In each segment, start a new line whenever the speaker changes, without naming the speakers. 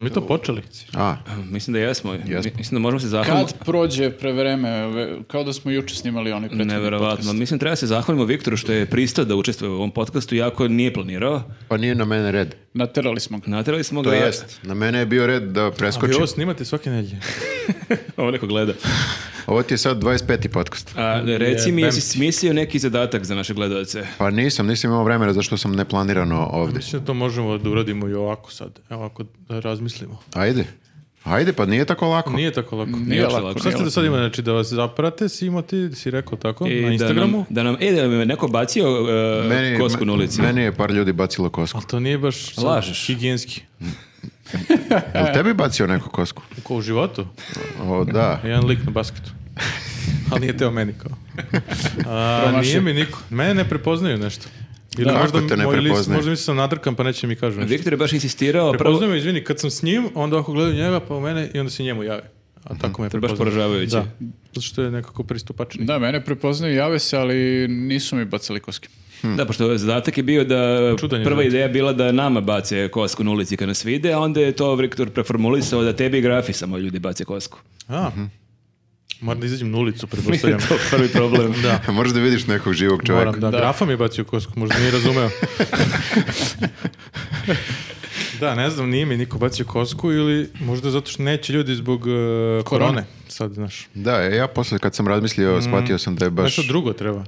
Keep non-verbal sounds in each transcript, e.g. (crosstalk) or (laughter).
vi to počeli?
A,
Mislim da jesmo.
Jesmo.
Mislim da možemo se zahvaliti.
Kad prođe prevreme, ve- kao da smo juče snimali oni prethodni
Neverovatno.
podcast.
Mislim, treba se zahvalimo Viktoru što je pristao da učestvuje u ovom podcastu, jako nije planirao.
pa nije na mene red.
Naterali smo ga.
Naterali smo ga...
To jest, na mene je bio red da
Vi
preskočim.
ovo snimate svake nedlje.
(laughs) Ovo neko gleda.
Ovo ti je sad 25. podcast.
A, reci mi,
Jebem
jesi
ti.
smislio neki zadatak za naše gledalce?
Pa nisam, nisam imao vremena zašto sam neplanirano ovdje.
(laughs) Mislim da to možemo da uradimo i ovako sad. Evo ako da razmislimo.
Ajde. Ajde, pa nije tako lako.
Nije tako lako.
Nije uopšte
lako,
lako.
Šta ste do sad imali? Znači da vas zaprate, Simo ti si rekao tako,
I
na Instagramu.
Da nam, da nam, e, da nam je neko bacio e, kosku na ulici.
Meni je par ljudi bacilo kosku.
Ali to nije baš sad
Lažeš.
higijenski.
Jel tebi bacio neko kosku?
Ko u životu?
O, da. (laughs)
Jedan lik na
(laughs)
basketu. Ali nije teo meni kao. A, nije
Promašio.
mi niko. Mene ne prepoznaju nešto. Ili
Kako
možda,
te ne
moj list-
prepoznaju?
možda mi se sam nadrkan pa neće mi kažu nešto.
Viktor je baš insistirao, prvo,
Prepoznaju me, izvini, kad sam s njim, onda ako gledaju njega, pa u mene i onda se njemu jave. A tako me
je baš
prepoznaju.
poražavajuće.
Da, zato što je nekako pristupačni.
Da, mene prepoznaju, jave se, ali nisu mi bacali koske.
Da, pošto zadatak je bio da
Čudan je
prva
zadatak.
ideja bila da nama bace kosku na ulici kad nas vide, a onda je to Viktor preformulisao da tebi i grafi samo ljudi bace kosku.
A, moram da izađem na ulicu, pretpostavljam.
to prvi problem.
da,
Možeš da vidiš nekog živog čovjeka.
moram, da.
Da.
Grafa mi je bacio kosku, možda nije razumeo. da, ne znam, nije mi niko bacio kosku ili možda zato što neće ljudi zbog e, korone. Sad, znaš,
Da, e, ja posle kad sam razmislio, shvatio sam da je baš...
nešto drugo treba.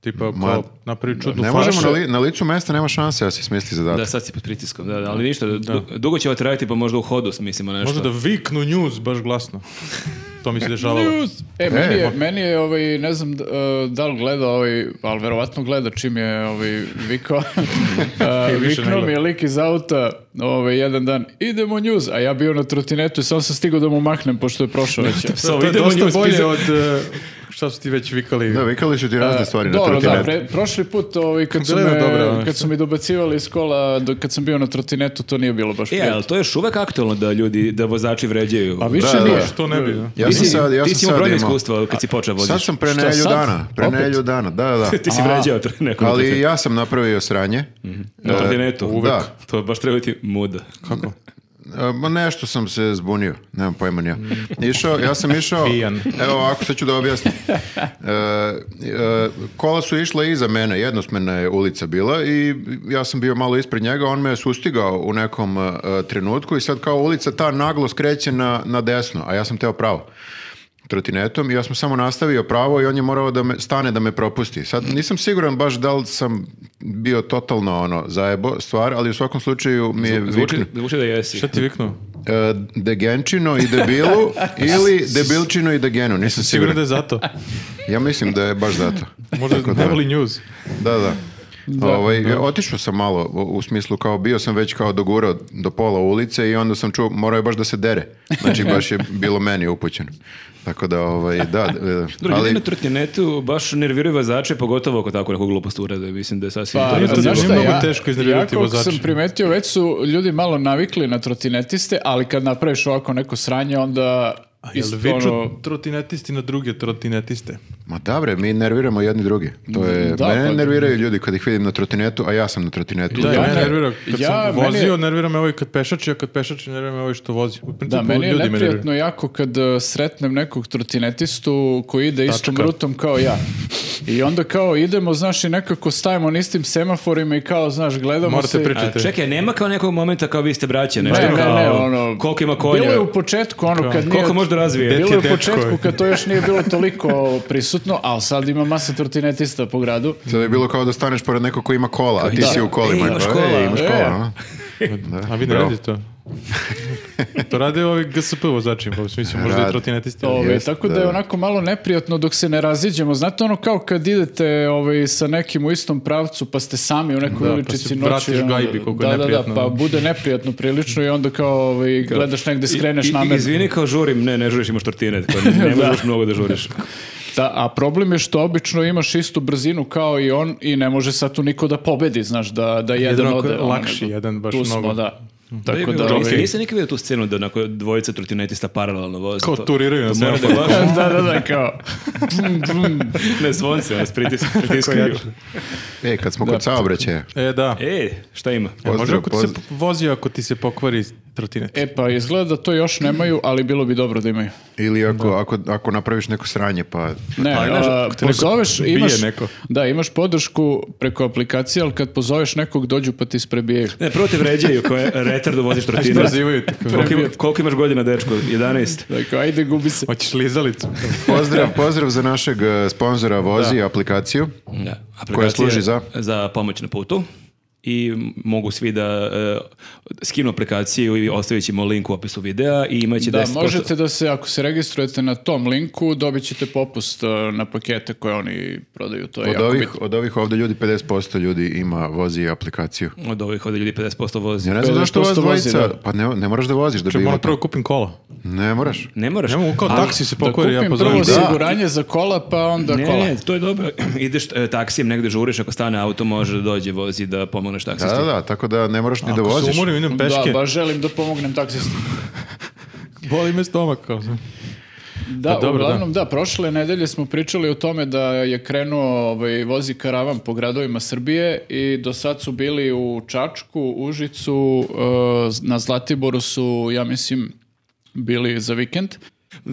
Tipa,
Ma-
kao, napravi čudnu
Ne
flašu.
možemo na, li- na licu mesta, nema šanse da se smisli
Da,
zadatak.
sad si pod pritiskom, da, da, ali ništa, du- dugo će ovo trajati pa možda u hodu smislimo nešto.
Možda da viknu news baš glasno. To mi se dešavalo.
E, meni je,
mo-
meni je ovaj, ne znam d- e, da li gleda ovaj, ali verovatno gleda čim je ovaj, vikao.
(laughs)
E,
više ne
Viknuo
gleda.
mi je lik iz auta ovaj, jedan dan, idemo news, a ja bio na trotinetu i sam sam stigao da mu mahnem pošto je prošao već.
Psa,
to je
idemo
dosta
news
bolje
pizza.
od... e, šta su ti već vikali?
Da, vikali su ti razne stvari na
E, Dobro, da,
trotinetu.
pre- prošli put ovaj, kad, su
Bila je
me,
dobra, ono,
kad
šta?
su mi dobacivali iz kola, dok, kad sam bio na trotinetu, to nije bilo baš
E,
prijatno.
ali to je još uvek aktualno da ljudi, da vozači vređaju.
A više
Da, da,
nije.
da.
Što ne bi, da?
Ja
ti
sam
si,
sad, ja
ti
sam
si imao
sad
brojne
imao...
iskustva kad si počeo voziš.
Sad sam pre
Šta
nedelju
sad?
dana. Pre
Opet?
nedelju dana, da, da.
(laughs) Ti si vređao tre- nekoliko
Ali
puta.
ja sam napravio sranje.
Na trotinetu.
Uvek. Da.
To baš treba biti muda.
Kako?
E, Ma nešto sam se zbunio, nemam pojma nija. Išao, ja sam išao,
Pijan.
evo ovako sad ću da objasnim. E, e, kola su išla iza mene, jednosmena je ulica bila i ja sam bio malo ispred njega, on me je sustigao u nekom e, trenutku i sad kao ulica ta naglo skreće na, na desno, a ja sam teo pravo trotinetom i ja sam samo nastavio pravo i on je morao da me stane da me propusti. Sad nisam siguran baš da li sam bio totalno ono zajebo stvar, ali u svakom slučaju mi je
Zvuči,
viknu-
zvuči da jesi.
Šta ti viknu?
E, degenčino i debilu ili debilčino i degenu, nisam
Sigurno
siguran.
da je zato.
Ja mislim da je baš zato.
Možda
Tako
ne voli news.
Da, da. Ovaj, ja Otišao sam malo u, u smislu kao bio sam već kao dogurao do pola ulice i onda sam čuo morao je baš da se dere. Znači baš je bilo meni upućeno. Tako da ovaj da e,
Drugi ljudi
ali
na trotinetu baš nerviraju vozače, pogotovo ako tako neku glupost urade. Mislim da je sasvim...
Pa,
to je
Nije to
znaš
nije
šta,
mnogo
ja-
teško iznervirati
ja koliko
vozače.
sam primetio, već su ljudi malo navikli na trotinetiste, ali kad napraviš ovako neko sranje, onda
A jel
isto
viču
ono...
trotinetisti na druge trotinetiste?
ma da bre, mi nerviramo jedni druge. To je
Da,
mene
pa-
nerviraju ljudi kad ih vidim na trotinetu, a ja sam na trotinetu. Znači,
Da,
Ja
ja,
ne-
nervira. Kad
ja-
sam
meni je-
vozio, nervira me ovaj kad pešači, a kad pešači nervira me ovaj što vozi. U principu,
Da, meni je
ljudi me nerviraju.
neprijatno jako kad uh, sretnem nekog trotinetistu koji ide istom rutom kao ja. I onda kao idemo, znaš, i nekako stajemo na istim semaforima i kao, znaš, gledamo
Morate
se... i-
pričati.
A, čekaj, nema kao nekog momenta kao vi ste braće, nešto
Ne, ne,
kao
ne, ono...
koliko ima konja,
Bilo je u početku, ono, kad nije...
koliko može da razvije.
Dete-
Bilo je u
dečko.
početku kad to još nije bilo toliko prisutno, ali sad ima masa trotinetista po gradu.
Sada je bilo kao da staneš pored nekog ko ima kola, a ti
Da.
si u kolima.
E, imaš
Pa,
kola.
imaš
E.
kola.
A vi ne
Bravo.
radite
(laughs)
to? to rade ovi GSP vozači, pa mislim, možda i
Rade.
trotinetisti.
Ove,
Jest,
tako da,
da.
je onako malo neprijatno dok se ne raziđemo. Znate ono kao kad idete ovaj, sa nekim u istom pravcu pa ste sami u nekoj
Da, pa
uličici
se
noću.
vratiš
i onda-
gajbi, koliko je
da, da, da,
neprijatno.
pa bude neprijatno prilično i onda kao ovaj, gledaš negde skreneš
I- i-
namerno.
Izvini kao žurim, ne, ne žuriš, imaš tortinet,
(laughs)
pa ne, ne možeš mnogo da žuriš.
Da, a problem je što obično imaš istu brzinu kao i on i ne može sad tu niko da pobedi, znaš, da, da jedan
Jedan oko-
ode. ono,
lakši,
nego-
jedan baš
tu smo,
mnogo.
da. Tako
Nisam-
da, ovaj, (laughs)
Nisam nikad vidio tu scenu da onako dvojica trotinetista paralelno voze.
Kao
To-
turiraju na
to mora da
semaforu.
baš- (laughs)
da, da, da, kao. Bum, bum.
(laughs) ne zvonce, ono s pritis- pritiskaju.
jače.
E, kad smo kod saobraćaja.
E, da.
E, šta ima?
E, može
pozdrav,
ako ti se
pozdrav.
vozi, ako ti se pokvari trotinet.
E pa izgleda da to još nemaju, ali bilo bi dobro da imaju.
Ili ako, ako, ako napraviš neko sranje, pa...
Ne,
Ali, znaš,
a,
ako te neko
pozoveš,
bije
imaš,
neko.
da, imaš podršku preko aplikacije, ali kad pozoveš nekog dođu pa ti sprebijaju.
Ne, prvo te vređaju koje retardu voziš
Ti
trotinet.
nazivaju te. kao,
Koliko, ima- koliko imaš godina, dečko? 11.
Dakle, ajde, gubi se.
Hoćeš lizalicu.
Pozdrav, pozdrav za našeg eh, sponzora Vozi, aplikaciju.
Da, aplikacija
Koja služi za?
Za pomoć na putu i m- mogu svi da e, skinu aplikaciju i ostavit ćemo link u opisu videa i imaće
Da,
10%.
možete da se, ako se registrujete na tom linku, dobit ćete popust e, na pakete koje oni prodaju. To je
Od
jako
ovih,
bitno.
od ovih ovdje ljudi 50% ljudi ima Vozi aplikaciju.
Od ovih ovdje ljudi 50% vozi.
Ja ne znam zašto
50%
vas
vozi,
dvojica...
da.
Pa ne, ne moraš da voziš da bi
Moram
imao...
prvo kupim kola.
Ne moraš.
Ne moraš.
Ne mogu kao
Ali-
taksi se
Da
pokvari, ja
kupim
pozovem.
prvo
Da.
osiguranje za kola, pa onda
Ne,
kola.
ne, to je dobro. (clears throat) Ideš e, taksijem negde žuriš, ako stane auto može da dođe vozi da pomogneš
Da,
taksistu.
da, da, tako da ne moraš ni da
Ako se
voziš.
umorim, idem
Da,
peške.
baš želim da pomognem taksistu.
Boli me stomak. Kao.
Da,
Pa dobro, da.
uglavnom, da. prošle nedelje smo pričali o tome da je krenuo ovaj, vozi karavan po gradovima Srbije i do sad su bili u Čačku, Užicu, e, na Zlatiboru su, ja mislim, bili za vikend.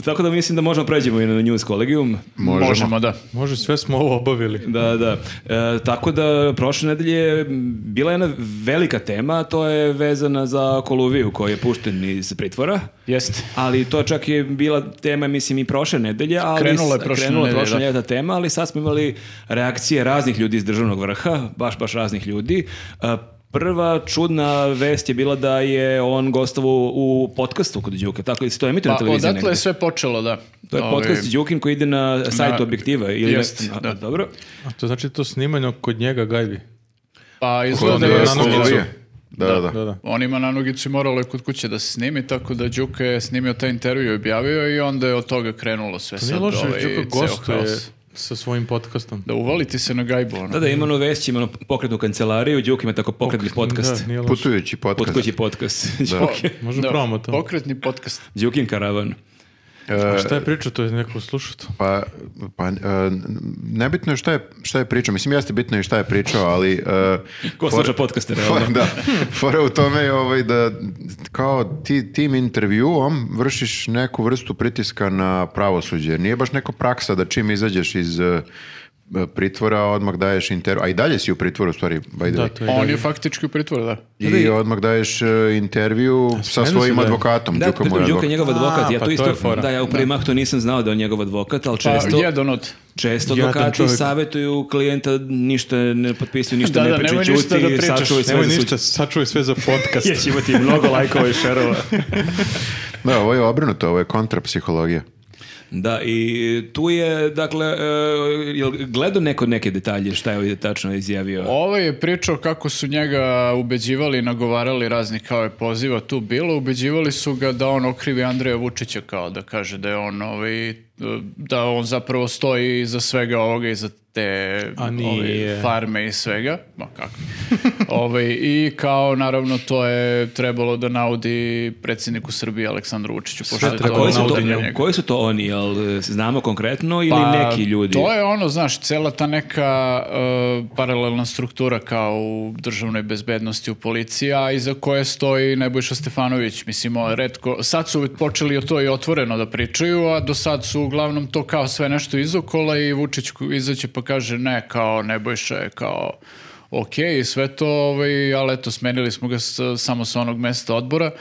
Tako da mislim da možemo pređemo i na News Collegium.
Možemo.
da.
Može, sve smo ovo obavili.
Da, da. E, tako da prošle nedelje je bila jedna velika tema, a to je vezana za Koluviju koji je pušten iz pritvora.
Jeste.
Ali to čak je bila tema, mislim, i prošle nedelje. Ali
Krenula je prošle
krenula
nedelje,
prošle
da.
nedelje ta tema, ali sad smo imali reakcije raznih ljudi iz državnog vrha, baš, baš raznih ljudi. E, Prva čudna vest je bila da je on gostovo u podcastu kod Đuke, tako li se to emituje na
Pa
televiziji
odatle
negde?
je sve počelo, da.
To je
Ovaj,
podcast Đukin koji ide na sajt
Na-
objektiva. Ili
Jest,
na- a,
da.
Dobro.
A to znači to snimanje kod njega gajbi.
Pa
Kod,
izgleda
eh,
je...
Nanogicu.
Koluvije. Da, da,
Da, da.
On ima nanogicu i moralo je kod kuće da se snimi, tako da Đuka je snimio taj intervju i objavio i onda je od toga krenulo sve.
Nije
sad,
loše,
ovaj,
Đuka
ceo
gostuje
haos.
sa svojim podcastom.
Da uvaliti se na gajbu, ono.
Da, da, ima ono vešće, ima ono pokretnu kancelariju, Đuki ima tako pokretni podcast.
Da, nije loše.
Putujući podcast.
Potkući podcast. Đuki.
Možda probamo to.
Pa, Pokretni podcast.
(laughs) Đukin karavan.
A šta je pričao, to je neko slušao to.
E, Pa, pa e, nebitno je šta je, šta je pričao. Mislim, jeste bitno je šta je pričao, ali... e,
Ko
fora-
sluša podcaste,
fora-
realno?
da, fora u tome je ovaj da kao ti tim intervjuom vršiš neku vrstu pritiska na pravosuđe. Nije baš neka praksa da čim izađeš iz e, pritvora odmah daješ intervju, a i dalje si u pritvoru u stvari, by the
Da,
way.
to je.
On
dalje.
je faktički u pritvoru, da. Pa,
I odmah daješ e, intervju sa
smenu si
svojim
daje.
advokatom,
Da,
Đuka mu je
pritom Đuka je
advokat.
njegov advokat, ja
pa
to
to
isto,
je fora.
da, ja u primah to nisam znao da je on njegov advokat, ali
Pa,
često,
jedan od.
često
Jadan
advokati
čovjek.
savjetuju klijenta, ništa ne potpisuju, ništa
Da,
ne
da, nemoj
pričaju,
ništa da
čuti,
pričaš,
sačuvaj sve
Nemoj
za
ništa, sačuvaj sve za podcast.
Ja ću imati mnogo lajkova i šerova.
Da, ovo je obrnuto, ovo je kontrapsihologija.
(laughs) Da, i tu je, dakle, e, jel gledao neko neke detalje šta je ovdje tačno izjavio?
Ovo je pričao kako su njega ubeđivali i nagovarali razni kao je poziva tu bilo. Ubeđivali su ga da on okrivi Andreja Vučića kao da kaže da je on ovaj, da on zapravo stoji iza svega ovoga, iza te
A
ove,
nije.
farme i svega. Ma kako. (laughs) Ovaj, I kao naravno to je trebalo da naudi predsjedniku Srbije Aleksandru Vučiću. Pošto je
A
trebalo
koji su, to,
naudi
naudilo
njemu?
njega.
koji su to oni, jel e, znamo konkretno ili
Pa,
neki ljudi?
To je ono, znaš, cela ta neka e, paralelna struktura kao u državnoj bezbednosti u policiji, a iza koje stoji Nebojša Stefanović. Mislim, o, redko, sad su počeli to i otvoreno da pričaju, a do sad su uglavnom to kao sve nešto izokola i Vučić ko- izaće pa kaže ne, kao Nebojša je kao ok, i sve to, ovaj, ali eto, smenili smo ga s- samo sa onog mesta odbora.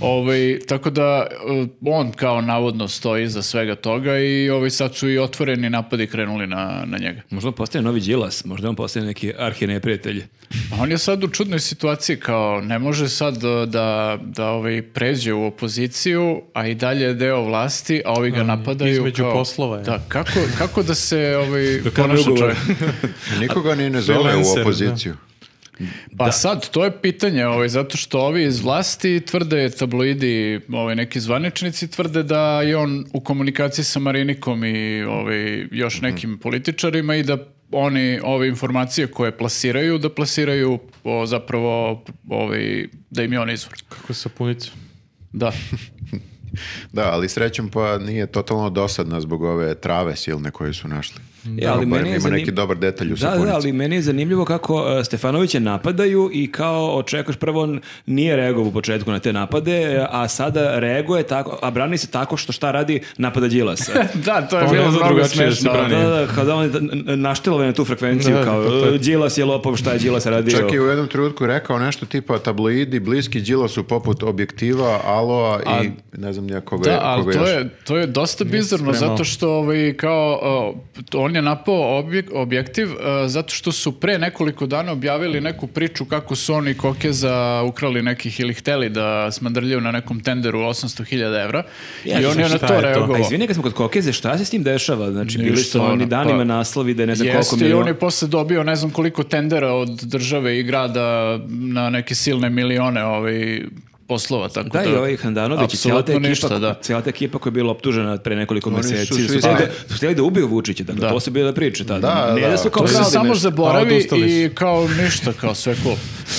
Ovaj, tako da eh, on kao navodno stoji iza svega toga i ovaj, sad su i otvoreni napadi krenuli na, na njega.
Možda on postaje novi Đilas, možda on postaje neki arhineprijatelj.
A on je sad u čudnoj situaciji, kao ne može sad eh, da, da ovaj, pređe u opoziciju, a i dalje je deo vlasti, a ovi ga napadaju.
između
kao-
poslova je.
Da, kako, kako da se ovaj,
kada
ponaša
ugovor?
čovjek?
Nikoga ni ne zove u
Freelancer,
opoziciju.
Pa sad, to je pitanje, ovaj, zato što ovi iz vlasti tvrde, tabloidi, ovaj, neki zvaničnici tvrde da je on u komunikaciji sa Marinikom i ovaj, još nekim političarima i da oni ove informacije koje plasiraju, da plasiraju o, zapravo ovaj, da im je on izvor.
(laughs) Kako sapunicu.
Da.
Da, ali srećem pa nije totalno dosadna zbog ove trave silne koje su našli. Da, barem ima neki dobar detalj u
Da,
sapunici.
da, ali meni je zanimljivo kako e, Stefanovića napadaju i kao očekuješ prvo on nije reagovao u početku na te napade, e, a sada reaguje tako, a brani se tako što šta radi napada Đilas.
(laughs) (laughs) Da, to je
Pa
bilo
ne znam
mnogo
drugačije da se
smešno.
brani.
Da, da, kada on je n- naštelovan na tu frekvenciju,
Da,
kao
pa to je-
e, Đilas je lopov, šta je Đilas radio?
Čak je u jednom trenutku rekao nešto tipa tabloidi bliski Đilasu poput objektiva, aloa i ne znam ja koga,
Da, ali
koga
to
još. E,
je, to je dosta bizarno,
spremao.
zato što ovaj, kao, o, t- on je napao objek- objektiv, e, zato što su pre nekoliko dana objavili neku priču kako su oni Kokeza ukrali nekih ili hteli da smandrljaju na nekom tenderu 800.000 evra
Ja
i
ne
on
znam
je na
šta
to
je to.
reagovao.
A izvini, kad smo kod Kokeze, šta se s tim dešava? Znači, bili
Ništa,
su oni
ono,
danima
pa-
naslovi da je ne znam koliko
Jeste, i on
miliona.
je posle dobio ne znam koliko tendera od države i grada na neke silne milione ovaj, poslova, tako da...
Da, i ovaj Handanović i cijela ta
apsolutno
ekipa,
ništa, da.
cijela ta ekipa koja je bila optužena pre nekoliko
Oni su
mjeseci.
svi
Su, htjeli
znali.
da, su htjeli da ubiju Vučića, dakle,
Da.
to su bile priče tada.
Da,
ne
da.
da su kao
To se
krali
samo
nešto.
A,
zaboravi
odustali
i kao ništa, kao sve
(laughs)
cool.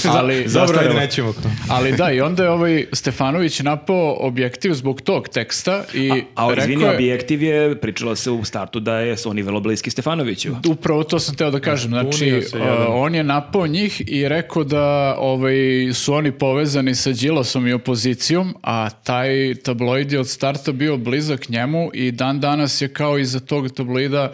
Ali,
Dobro, ajde,
Zastarelo.
nećemo to.
ali da, i onda je ovaj Stefanović napao objektiv zbog tog teksta i
A ovaj, izvini,
rekao je,
objektiv je, pričalo se u startu da je, su oni vrlo bliski Stefanoviću.
upravo to sam teo da kažem, znači
Bunio se
uh,
jadan.
on je napao njih i rekao da ovaj, su oni povezani sa Đilasom i opozicijom, a taj tabloid je od starta bio blizak njemu i dan danas je kao iza tog tabloida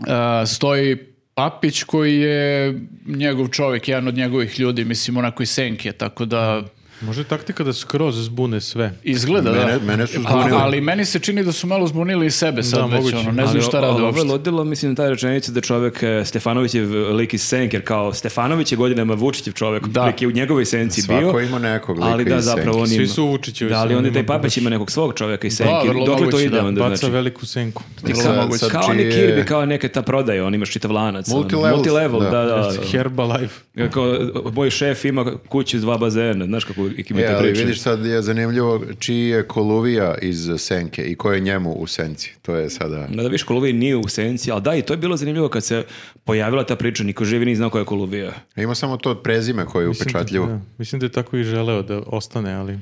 Uh, stoji Papić koji je njegov čovjek, jedan od njegovih ljudi, mislim onako i senke, tako da
Možda je taktika da skroz zbune sve.
izgleda
Mene,
da.
mene su
A,
zbunili.
ali meni se čini da su malo zbunili i sebe sad
Da,
već,
moguće.
ono, ne znam
Ali
šta
o-
rade
Ovo je
uopšte.
lodilo, mislim, ta rečenica da čovjek e, Stefanović je v- lik iz senke, jer kao Stefanović je godinama Vučićev čovjek,
Da.
lik je u njegovoj senci
Svako
bio.
ima nekog lika
ali da,
iz
zapravo on
senke.
Svi
ima-
su Vučićevi,
Da, ali
sad
onda i taj
nema
papić
Vučića.
ima nekog svog čovjeka iz senke.
vrlo
Dokle to
moguće,
ide
da.
onda,
Baca
znači?
veliku senku.
Ti
Sad-
kao,
sad
kao
čiji
oni
je-
Kirby, kao neke ta prodaja, on imaš čitav lanac. ono,
Multilevel.
multilevel, da,
Da.
da.
Znači, Herbalife.
da. Kao, moj šef ima kuću s dva bazena, znaš kako ima
E,
te
ali
priče.
vidiš sad je zanimljivo čiji je Koluvija iz Senke i ko je njemu u Senci. To je sada...
Da, da viš Koluvija nije u senci, ali da, i to je bilo zanimljivo kad se pojavila ta priča, niko živi nije znao koja je Koluvija. (laughs)
Ima samo to prezime koje je upečatljivo.
Mislim da, da. Mislim da je tako i želeo da ostane, ali...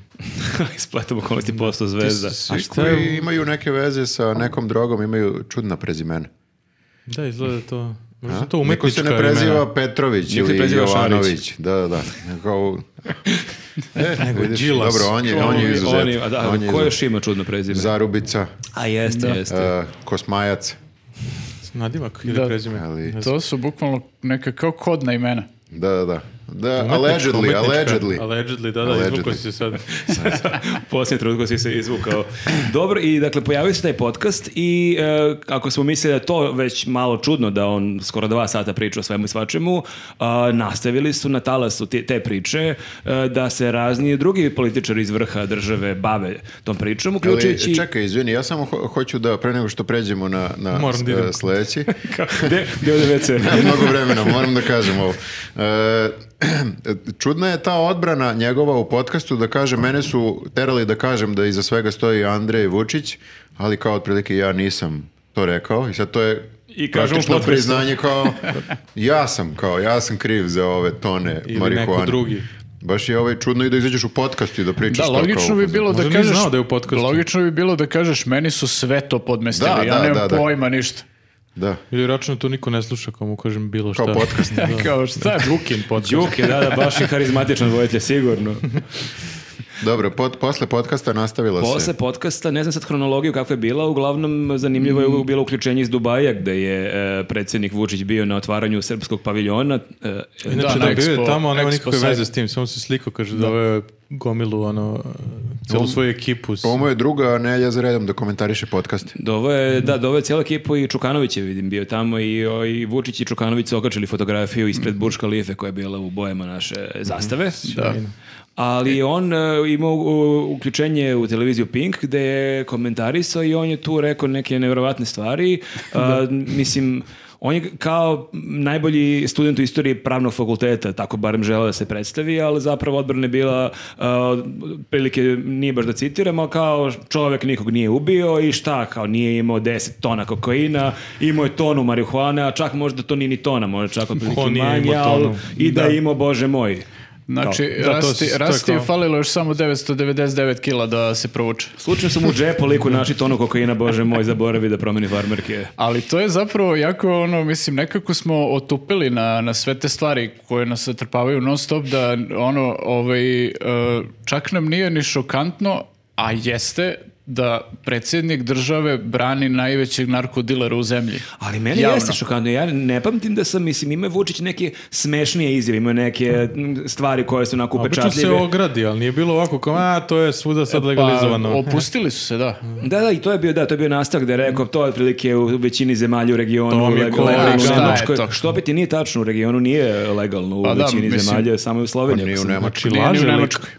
Ispletom okolnosti postao zvezda.
A
Svi
šta je-
koji imaju neke veze sa nekom drogom imaju čudna prezimena.
Da, izgleda to... Možda su to
Niko
umetnička
se ne preziva
imena.
Petrović
Niko ne
ili
preziva Šarić.
Jovanović. Da, da, da. Kao... E, vidiš,
Đilas.
Dobro, on je, on je izuzetak.
Oni- a da,
On je
ko
izuzetak.
još ima čudno prezime?
Zarubica,
A jeste, jeste.
e, Kosmajac.
Nadimak ili
Da.
prezime.
Ali-
Ne znam.
To su bukvalno neka kao kodna imena.
Da, da, da. Da,
Umetnička,
allegedly,
umetnička.
allegedly.
Allegedly, da, da,
Allegedly.
izvukao si se sad.
(laughs) Poslije trenutku si se izvukao. Dobro, i dakle, pojavio se taj podcast i e, ako smo mislili da je to već malo čudno da on skoro dva sata priča o svemu i svačemu, a, nastavili su na talasu te, te priče e, da se razni drugi političari iz vrha države bave tom pričom, uključujući... (laughs)
Ali, čekaj, izvini, ja samo ho- hoću da, pre nego što pređemo na, na
Moram da idem.
e, sledeći,
Gde- gde ovdje WC?
Nemam mnogo vremena, moram da kažem ovo. E, (clears throat) čudna je ta odbrana njegova u podcastu da kaže, mene su terali da kažem da iza svega stoji Andrej Vučić, ali kao otprilike ja nisam to rekao i sad to je
I kažem u
praktično
podcastu.
priznanje kao
(laughs)
ja sam kao, ja sam kriv za ove tone
Ili
marihuane.
neko drugi.
Baš je ovaj čudno i da izađeš u podcastu i da pričaš
Da,
to kao
logično bi bilo da
Možda nije
kažeš...
znao da je u podcastu.
Logično bi bilo da kažeš, meni su sve to podmestili,
Da,
ja
da,
nemam
da, da.
pojma ništa.
Da.
Ili računa to niko ne sluša, kao mu kažem bilo šta.
Kao podcast.
(laughs) Da.
Kao šta je
Đukin podcast.
Đuk je, da, da, baš i harizmatičan vojitelj, sigurno.
Dobro, pod, posle podcasta nastavila se.
Posle podcasta, ne znam sad hronologiju kakva je bila, uglavnom zanimljivo je bilo uključenje iz Dubaja gde je e, predsjednik Vučić bio na otvaranju srpskog paviljona. e, e,
Inače,
Da,
da,
na
bio je
Expo-
tamo, on nema
Expo
nikakve
sajmu.
veze s tim, samo se slikao, kaže da je gomilu, ono, celu svoju ekipu. s-
Ovo je druga Nelja za redom da komentariše podcast.
Dovo je, da, dovo je cijela ekipa i Čukanović je vidim bio tamo i, o, i Vučić i Čukanović su okačili fotografiju ispred Burj Khalife koja je bila u bojama naše zastave. Da. Ali je on e, imao u, uključenje u televiziju Pink gde je komentarisao i on je tu rekao neke nevjerovatne stvari. A, mislim, on je kao najbolji student u istoriji pravnog fakulteta, tako barem želeo da se predstavi, ali zapravo odbrana je bila, uh, prilike nije baš da citiram, ali kao čovjek nikog nije ubio i šta, kao nije imao 10 tona kokaina, imao je tonu marihuane, a čak možda to nije ni tona, možda čak otprilike
On nije
manje,
imao
ali
tonu.
i da, je imao, bože moj.
Znači,
Da, to
rasti,
si- to je
rasti je
kao-
falilo još samo 999 kila da se provuče.
Slučajno sam u džepu liku naši tonu kokaina, bože moj, zaboravi da promeni farmerke.
Ali to je zapravo jako, ono, mislim, nekako smo otupili na, na sve te stvari koje nas zatrpavaju non stop, da ono, ovaj, e, čak nam nije ni šokantno, a jeste da predsjednik države brani najvećeg narkodilera u zemlji.
Ali meni
Javno.
jeste šokantno. Ja ne pamtim da sam, mislim, ima Vučić neke smešnije izjave, ima neke mm, stvari koje su onako
Obično se
upečatljive.
ogradi, ali nije bilo ovako kao, a to je svuda sad
Pa,
legalizovano.
opustili su se, da.
Da, da, i to je bio, da, to je bio nastavak da je rekao, to je otprilike u većini zemalja u regionu
To mi je
legalno.
kolega,
legalno,
šta je
što je-
to?
Što opet i nije tačno, u regionu nije legalno u
Pa da,
većini
mislim,
zemalja, samo je u Sloveniji.
Pa Nije
ako
u
sam
Nemačkoj.
Nije ni
Laže
u
lik.
Nemačkoj.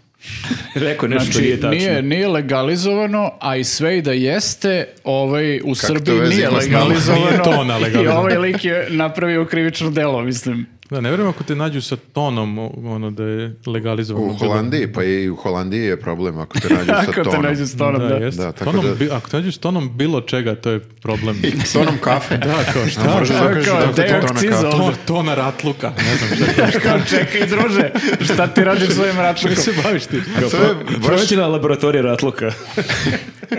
(laughs) Rekao nešto što nije
Znači,
tačno.
nije,
(laughs)
nije legalizovano, a i sve i da jeste, ovaj, u
Kako to
Srbiji
veze
nije
ima s nama?
legalizovano.
Nije to ona legalizovana.
I ovaj lik je napravio krivično delo, mislim.
Da, ne vjerujem ako te nađu sa tonom o- ono da je legalizovano.
U Holandiji, pa i u Holandiji je problem ako te
(laughs)
nađu sa
Ako te
tonom.
nađu s tonom,
Da,
da.
jeste.
Da, tako
Tonom
da-
bi- ako te nađu s tonom bilo čega, to je
(laughs)
problem.
S tonom
(laughs)
kafe.
Da, kao
A
šta?
možeš
Kao,
da kažeš
kao,
da ti
da je
je tona
akciza.
kafe.
To, to na ratluka, ne znam šta.
Kao, čekaj, druže, šta ti radiš svojim
Čime
računom?
se baviš ti? Kao
To je baš,
Pronađena laboratorija ratluka.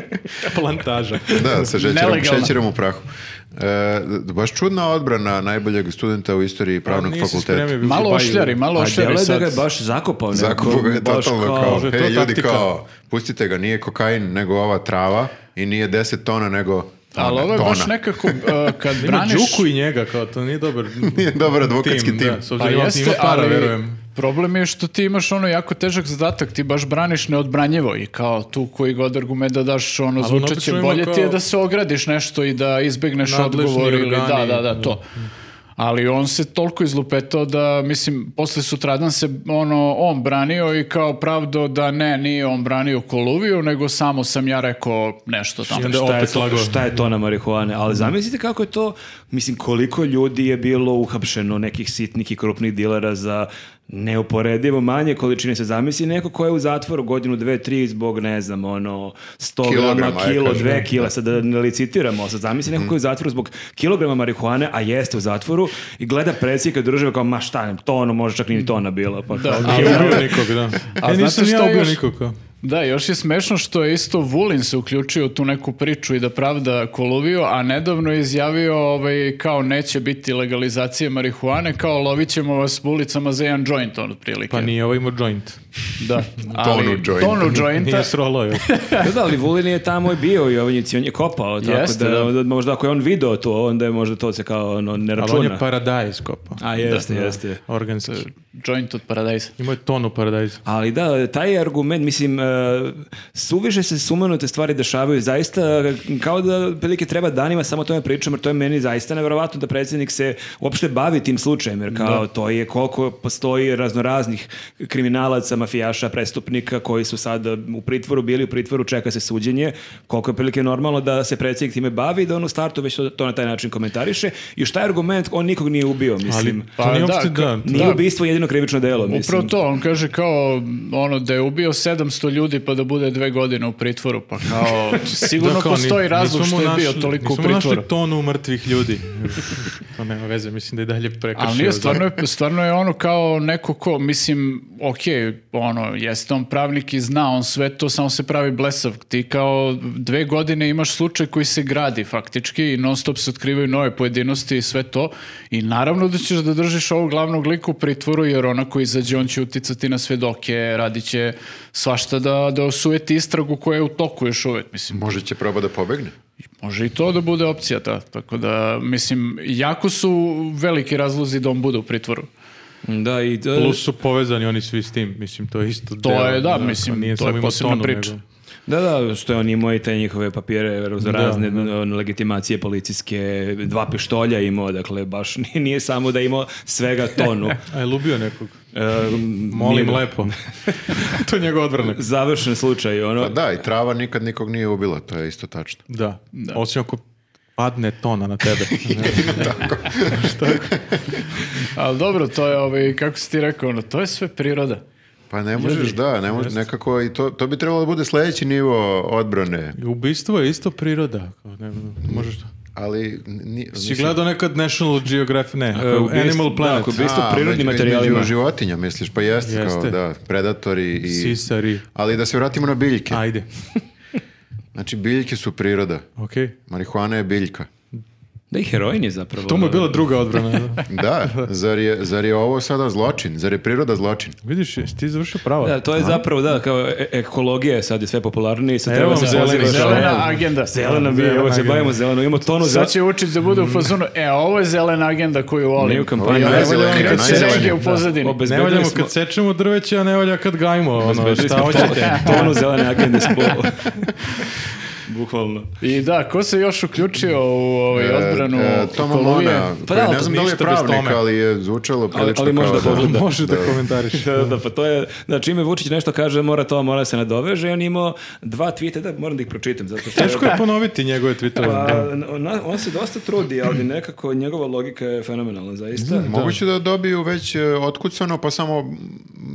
(laughs) plantaža.
da, sa šećerom,
Nelegalna.
šećerom u prahu. E, baš čudna odbrana najboljeg studenta u istoriji pravnog
Nisi
fakulteta.
spremio bi
Malo
u Baju.
ošljari, malo
A djelo
ošljari
je da
sad.
ga je baš zakopao. neko,
Zakupo je
baš
totalno kao,
Može, to
hej
je
ljudi
taktika."
kao, pustite ga, nije kokain nego ova trava i nije 10 tona nego tona,
Ali ovo je baš
tona.
nekako, uh, kad
Ima
braniš...
Đuku i njega, kao to nije dobar
(laughs) Nije dobar advokatski tim.
Da, s
Pa
obzirom da ima para, verujem.
problem je što ti imaš ono jako težak zadatak, ti baš braniš neodbranjivo i kao tu koji god argument da daš, ono,
on
zvučat će
obično ima
bolje ti je
kao-
da se ogradiš nešto i da izbjegneš
Nadležni
odgovor ili da,
organi. Mm.
da, da, to. Ali on se toliko izlupetao da, mislim, posle sutradan se ono, on branio i kao pravdo da ne, nije on branio Koluviju, nego samo sam ja rekao nešto tamo.
I onda
Šta je,
opet
to,
lagao.
šta je to na marihuane? Ali zamislite kako je to, mislim, koliko ljudi je bilo uhapšeno nekih sitnih i krupnih dilera za neuporedivo manje količine se zamisli neko ko je u zatvoru godinu, dve, tri zbog, ne znam, ono, 100 grama,
Kilograma, aj,
kilo,
kažem, Mhm.
dve kila, sad da ne licitiramo, sad zamisli neko ko je u zatvoru zbog kilograma marihuane, a jeste u zatvoru i gleda predsjednika države kao, ma šta, to ono može čak ni tona bila, pa kao,
Nije ubio nikog, da.
A
E, nisam
znate
ja
šta
ubio
još?
nikog, kao.
Da, još je smešno što je isto Vulin se uključio u tu neku priču i da pravda kolovio, a nedavno je izjavio ovaj, kao neće biti legalizacije marihuane, kao lovit ćemo vas ulicama za jedan joint, on otprilike.
Pa nije, ovo ima joint. (laughs)
Da. Ali,
jointa.
Tonu jointa.
Nije srolo još.
(laughs) Da, da, ali Vulin je tamo i bio i Jovanjici, on je kopao, tako
Jeste,
da,
da.
da možda ako je on video to, onda je možda to se kao ono, ne
Ali
računa.
on je paradajz kopao.
A jeste, jeste.
Organski.
Joint od paradajza.
Imao je tonu paradajza.
Ali da, taj argument, mislim, e, suviše se sumanute stvari dešavaju, zaista e, kao da prilike treba danima samo o tome pričam, jer to je meni zaista nevjerovatno da predsjednik se uopšte bavi tim slučajem, jer kao to je koliko postoji raznoraznih kriminalaca, mafijaša, prestupnika koji su sad e, u pritvoru, bili u pritvoru, čeka se suđenje, koliko je prilike normalno da se predsjednik time bavi i da on u startu već to, to na taj način komentariše. I šta je argument, on nikog nije ubio, mislim.
Ali
Pa
to nije
da,
uopšte
ka-
da.
Nije
da.
ubistvo jedino krivično delo, mislim.
Upravo to, on kaže kao ono da je ubio 700 ljudi pa da bude dve godine u pritvoru, pa
(laughs)
kao sigurno
Da, kao ni-
postoji razlog
nismo
što
mu
je bio
našli-
toliko u
nismo mu
pritvoru.
našli tonu mrtvih ljudi. (laughs) to nema veze, mislim da je dalje prekršio.
Ali nije,
zakon.
stvarno je, stvarno je ono kao neko ko, mislim, ok, ono, jeste on pravnik i zna, on sve to, samo se pravi blesav. Ti kao dve godine imaš slučaj koji se gradi faktički i non stop se otkrivaju nove pojedinosti i sve to. I naravno da ćeš da držiš ovog glavnog lika u pritvoru, jer onako izađe, on će uticati na svedoke, radit će svašta da, da osujeti istragu koja je u toku još uvek, mislim.
Možda će proba da pobegne.
Može i to da bude opcija ta. Tako da, mislim, jako su veliki razlozi da on bude u pritvoru.
Da, i e, to-
Plus su povezani oni svi s tim, mislim, to je isto
To
deo,
je, da,
kao,
mislim,
nije
to
samo
je
imao
posebna
tonu,
priča.
nego-
Da, da, što je on imao i te njihove papire za razne ono, legitimacije policijske, dva pištolja imao, dakle, baš nije- nije samo da je imao svega
(laughs)
tonu.
A je lubio nekog.
Ehm,
Molim
nije-
(laughs)
lepo. to je njegov odvrnak.
Završen slučaj, ono.
Pa da, i trava nikad nikog nije ubila, to je isto tačno.
Da. Osim ako padne tona na
(laughs)
tebe.
Ali dobro, to je, ovaj, kako si ti rekao, ono, to je sve priroda.
Pa ne možeš, da, ne možeš, nekako i to, to bi trebalo da bude sljedeći nivo odbrane.
Ubistvo je isto priroda. Kao, ne, možeš to.
ali... Ni,
Si gledao nekad National Geographic, ne,
je
uh,
ubistvo-
Animal Planet.
e, da, ako je ubistvo prirodnim materijalima.
životinja, misliš, pa jeste, kao,
Jeste.
da, predatori i...
Sisari.
Ali da se vratimo na biljke.
Ajde,
Znači, biljke su priroda.
okej.
Marihuana je biljka.
Da i heroin je zapravo. ono.
To mu je bila druga
(laughs)
odbrana.
(laughs)
Da, zar je, zar je ovo sada zločin? Zar je priroda zločin?
Vidiš, jesi ti završio pravo.
Da, to je zapravo, da, kao e- ekologija je sad je sve popularnije, sad
Evo
treba
vam
se
zeleni,
pozivaš-
Zelena agenda.
Zelena mi je, evo se
agenda.
bavimo zeleno, imamo tonu za...
Sad će Vučić da bude u fazonu, e, ovo je zelena agenda koju
Nije u
volim.
kampanji.
Ovo je
Ne
najzelenija,
volim kad se
najzelenija.
regije u pozadini.
Ne
Obezbedili
valjamo
smo-
kad sečemo drveće, a ne valja kad gajimo. Ono,
obezbedili
šta
smo to- (laughs) ono
hoćete?
Tonu zelene agende smo...
(laughs)
Bukvalno.
I da, ko se još uključio u ovaj odbranu
E, Toma
ekologije?
Mona,
Pa da,
koji
ali
ne znam
to
da li je
ništa bez
pravnik,
Tome.
ali je zvučalo prilično
ali možda
kao
pogleda.
(laughs) Može da
(laughs)
komentariš.
Da, da, pa to je, da čime Vučić nešto kaže, mora to, mora se nadoveže, on je imao dva tvita, da moram da ih pročitam, zato što
Teško je ponoviti njegove tweetove.
Pa, on, on se dosta trudi, ali nekako njegova logika je fenomenalna, zaista.
Moguće da dobiju već e, otkucano, pa samo mm,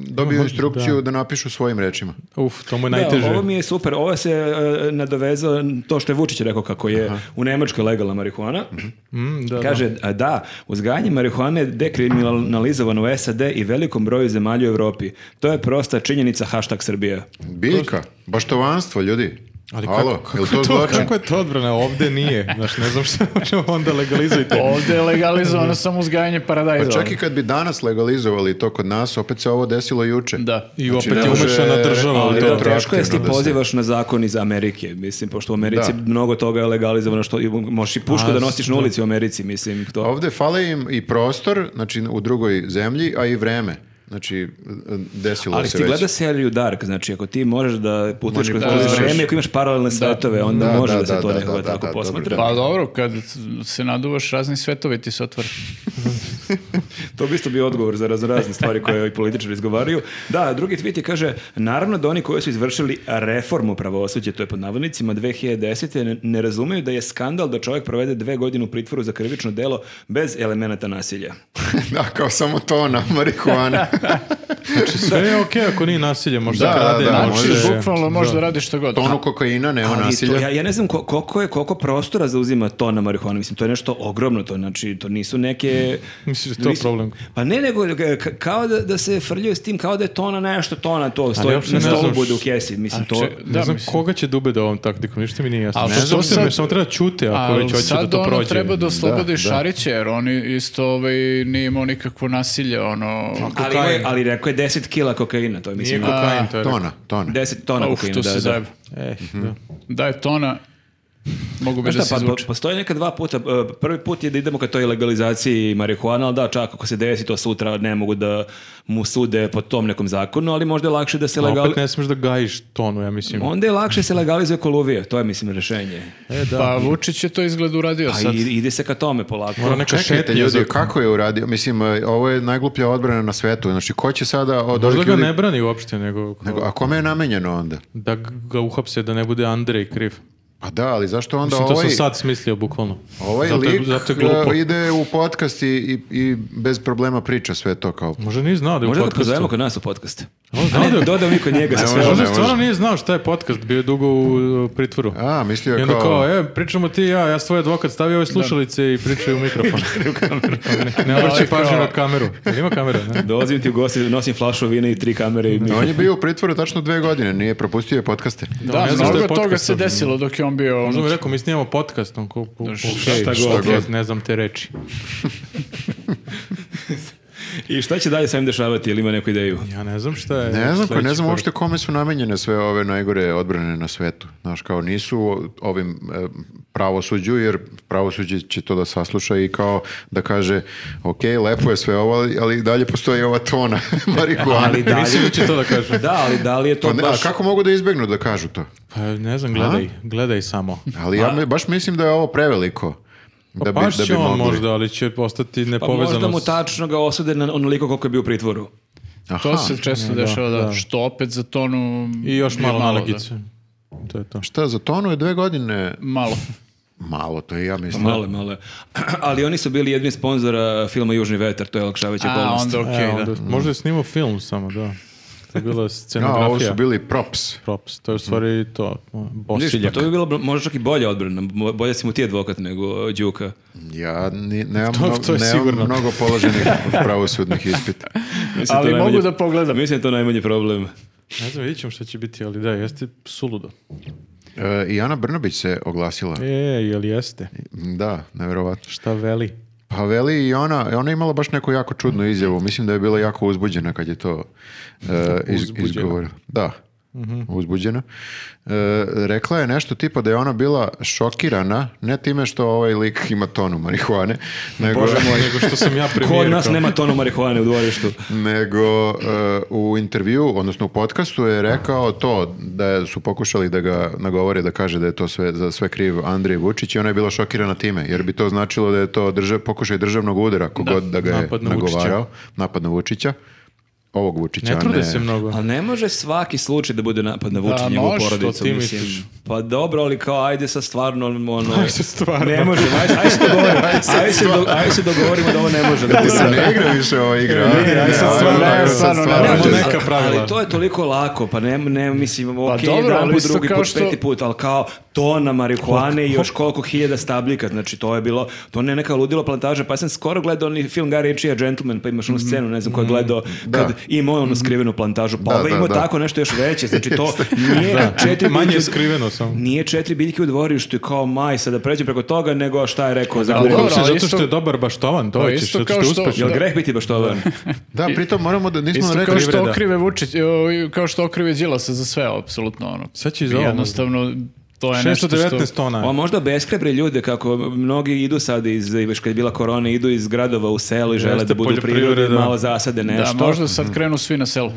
dobiju instrukciju da. napišu svojim rečima.
Uf, to mu je
Da,
najteže.
ovo mi je super. Ovo se e, nadovezao na to što je Vučić rekao kako je u Nemačkoj legalna marihuana.
Mm, da, da.
Kaže, a da, uzgajanje marihuane je dekriminalizovano u SAD i velikom broju zemalja u Europi. To je prosta činjenica hashtag Srbija.
Biljka, baštovanstvo, ljudi.
Ali kako,
Halo,
kako
je li to,
to,
zločin?
kako je to odbrana? Ovde nije. Znaš, ne znam što možemo onda legalizujte.
Ovdje je legalizovano samo uzgajanje paradajza.
Pa čak i kad bi danas legalizovali to kod nas, opet se ovo desilo juče.
Da.
I
Znači,
opet
ne
je
može-
umešana država. u
Ali
Ali
to.
da,
to je
teško je ti
atraktivno da se-
pozivaš na zakon iz Amerike, mislim, pošto u Americi
Da.
mnogo toga je legalizovano, što i možeš i pušku
A,
da nosiš na
da.
ulici u Americi, mislim, to...
Ovde fale im i prostor, znači u drugoj zemlji, a i vreme. Znači, desilo
Ali
se
ti
već.
gleda seriju Dark, znači ako ti možeš da putiš kroz
Manipulišeš.
vreme, ako imaš paralelne svetove, onda
Da,
može da,
da,
se
da,
to
da,
nekako
da,
tako
da,
posmatra.
dobro,
Pa dobro, kad se naduvaš razni svetovi ti se otvore.
To bi isto bio odgovor za razno razne stvari koje i političari izgovaraju. Da, drugi tweet je kaže, naravno da oni koji su izvršili reformu pravosuđa, to je pod navodnicima 2010. ne- ne razumeju da je skandal da čovjek provede dve godine u pritvoru za krivično delo bez elemenata nasilja.
(laughs) da, kao samo to na marihuana.
(laughs) znači,
Sve je E, okej ako nije nasilje, možda
Da,
krade,
da,
može-
možeš
Bukvalno možeš da radiš što god.
Tonu kokaina, nema
Ali
nasilja.
To, ja, ja ne znam ko- koliko, je, koliko prostora zauzima to na marihuana. Mislim, to je nešto ogromno. To, znači, to nisu neke...
Misliš da je to
nisu-
problem?
Pa ne, nego ka- kao da, da se frljaju s tim, kao da je tona nešto, tona to. Stoji,
uopšte
na
ne
stolu
znaš-
bude u kesi. Mislim, to...
če-
Ne
Znači, Da,
znam
mislim.
koga će da ubede ovom taktikom, ništa mi nije jasno.
Ali
Ne
što
znam se,
sad-
samo treba čute ako
Ali
već hoće da
sad
to
ono
prođe.
treba da oslobodi
Da, da.
Šarića, jer on isto ovaj, nije imao nikakvo nasilje, ono...
ali,
kokain.
ali, ali rekao je 10 kila kokaina, to je
Nije
mislim...
kokain, to je.
Tona, tona.
10 tona
Uf,
kokaina,
tu
da,
se
da.
zajeba.
Eh, da.
Da je tona, mogu bi
Znaš
da
šta,
se
pa, po-
izvuče.
postoje neka dva puta. E, Prvi put je da idemo ka toj legalizaciji marihuana, ali da, čak ako se desi to sutra, ne mogu da mu sude po tom nekom zakonu, ali možda je lakše da se
A
legaliz...
Opet ne smiješ da gajiš tonu, ja mislim.
Onda je lakše se legalizuje koluvije, to je mislim rješenje.
E, da.
Pa Vučić je to izgled
Pa
uradio
A
Pa sad.
i, ide se ka tome polako.
Mora neka
Čekajte
šetnja.
ljudi,
za-
kako je uradio? Mislim, e, ovo je najgluplja odbrana na svetu. Znači, ko će sada od
Možda
ovih
ga
ljudi...
ne brani uopšte, nego,
Nego, a kome je namenjeno onda?
da ga uhapse, da ne bude Andrej kriv.
Pa da, ali zašto onda
Mislim, to
ovaj,
sam sad smislio, bukvalno.
ovaj
zato, je-
lik
zato je glupo.
e, ide u podcast i, i, i bez problema priča sve to kao...
Možda nije znao da je u
Možda ga
podcastu.
pozovemo kod nas u podcast.
On
A
znao da
ne,
je-
dodao mi kod njega sa
Ne,
sve.
može.
Možda stvarno nije znao šta je podcast, bio je dugo u uh, pritvoru.
A, mislio
I
je
onda
kao...
kao, e, pričamo ti i ja, ja svoj advokat stavio ove slušalice i pričaju u
(laughs)
mikrofon. ne, ne
Ovaj
obraćaj pažnju na kameru. Jel ima kamera? Ne?
Dolazim ti u gosti, nosim flašu vina i tri kamere. I mi...
On je bio u pritvoru tačno dve godine, nije propustio je podcaste.
Da,
ne znam što je
mnogo toga
podcast,
se
ali-
desilo dok je on bio...
Možda mi
unutra.
je rekao, mi snimamo podcast, on kao, okej,
šta
šta
god.
god, ne znam te reči.
I šta će dalje sa njim dešavati, ili ima neku ideju?
Ja ne znam šta je.
Ne znam, ko- ne
sledeći
znam
korak.
uopšte kome su namenjene sve ove najgore odbrane na svetu. Znaš, kao nisu ovim e, pravosuđu, jer pravosuđe će to da sasluša i kao da kaže, ok, lepo je sve ovo, ali- ali dalje postoji ova tona (laughs) marihuana.
Ali da
Mislim da će to da kažem.
Da, ali da li je to
Pa ne, a
baš...
kako mogu da izbegnu da kažu to?
Pa ne znam, gledaj, gledaj samo.
Ali ja me- baš mislim da je ovo preveliko.
Pa
Da
baš
da
će on
mogli.
možda, ali će ostati
Pa možda
nepovezano.
mu
s-
tačno ga osude na onoliko koliko je bio u pritvoru.
Aha.
To se često dešava, da, Što opet za tonu...
I još
je
malo
da.
nalegice. To je to.
Šta, za tonu je dve godine
Malo.
malo, to i ja mislim.
Male, male. (clears throat) Ali oni su bili jedni od sponzora filma Južni vetar, to je Lakšavić
A,
okolnost.
onda okej,
E,
da.
onda- Možda je snimao film samo, da. što je bila
A, ovo
scenografija.
su bili props.
Props, to je u stvari to, ono,
Vidiš, pa
bosiljak.
to bi bilo možda čak i bolja odbrana. Mo- Bolje si mu ti advokat nego e, Đuka.
Ja ni, nemam,
To-
mno-
to je
nemam
sigurno.
mnogo
(laughs)
položenih pravosudnih ispita.
Mislim,
Ali
to je
mogu
najmanji-
da pogledam.
Mislim da je to najmanji problem.
Ne znam, vidit ćemo šta će biti, ali da, jeste suludo.
E, I Ana Brnabić se oglasila.
E, jel jeste?
Da, nevjerovatno.
Šta veli?
Pa veli i ona, ona je imala baš neku jako čudnu izjavu. Mislim da je bila jako uzbuđena kad je to e, iz,
Uzbuđena. Mhm.
izgovorila. Da, uzbuđena. E, rekla je nešto tipa da je ona bila šokirana, ne time što ovaj lik ima tonu marihuane, nego,
Bože moj, nego što sam ja
Ko
premijer.
od nas nema tonu marihuane u dvorištu?
nego e, u intervju, odnosno u podcastu je rekao to da su pokušali da ga nagovore da kaže da je to sve, za sve kriv Andrej Vučić i ona je bila šokirana time, jer bi to značilo da je to držav, pokušaj državnog udara, kogod da, da ga je
Napad na
nagovarao.
Vučića.
Napad na Vučića. Ovog Vučića,
Ne
a
trude se
(laughs)
mnogo.
Ali ne može svaki slučaj da bude napad na Vučića
Da,
i njegovu
može,
što
porodicu.
ti
mislim.
misliš?
Pa dobro, ali kao ajde sa stvarno... Ono,
sad stvarno.
Ne može, ajde, ajde se dogovorimo. Ajde se, do, ajde se dogovorimo da ovo ne može. Da
Ti
bude
se ne igra više ova igra. a?
Ne, ja sam
ovo
stvarno, ja
je tako,
sam
sad
stvarno,
ne,
će
ovo
se-
neka pravila.
Ali to je toliko lako, pa ne, ne mislim, ok,
dobro,
jedan
ali
put,
isto
drugi
kao
put,
što-
peti put, ali kao tona marihuane i još koliko hiljada stabljika, znači to je bilo, to ne neka ludilo plantaža, pa ja sam skoro gledao oni film Guy Ritchie, Gentleman, pa imaš onu scenu, ne znam ko je gledao, kad ima onu skrivenu plantažu, pa
Da,
ovaj
da,
imao
da.
tako nešto još veće, znači to nije četiri
Manje
biljke
je
u-
skriveno samo.
Nije četiri biljke u dvorištu i kao maj, sada pređem preko toga, nego šta je rekao,
Ali
dobro,
zapravo.
kako si,
ali
zato
isto-
što je dobar baštovan, to
To je
ćeš,
isto
zato što
kao što-
uspeš.
Jel
Da.
greh biti baš to van?
Da, pritom moramo da nismo
Isto
rekli
kao
Kao
ono Privreda.
što okrive Vučić, e, kao što okrive Đilasa za sve, apsolutno ono.
Sad će iz ovog-
Jednostavno,
Pa
to je nešto što...
619 tona.
Pa možda beskrebre ljude kako mnogi idu sad iz, već kad je bila korona, idu iz gradova u selo i žele
Jeste,
da budu u prirodi,
poljoprivreda.
malo zasade
Da,
nešto.
možda sad krenu svi na selu.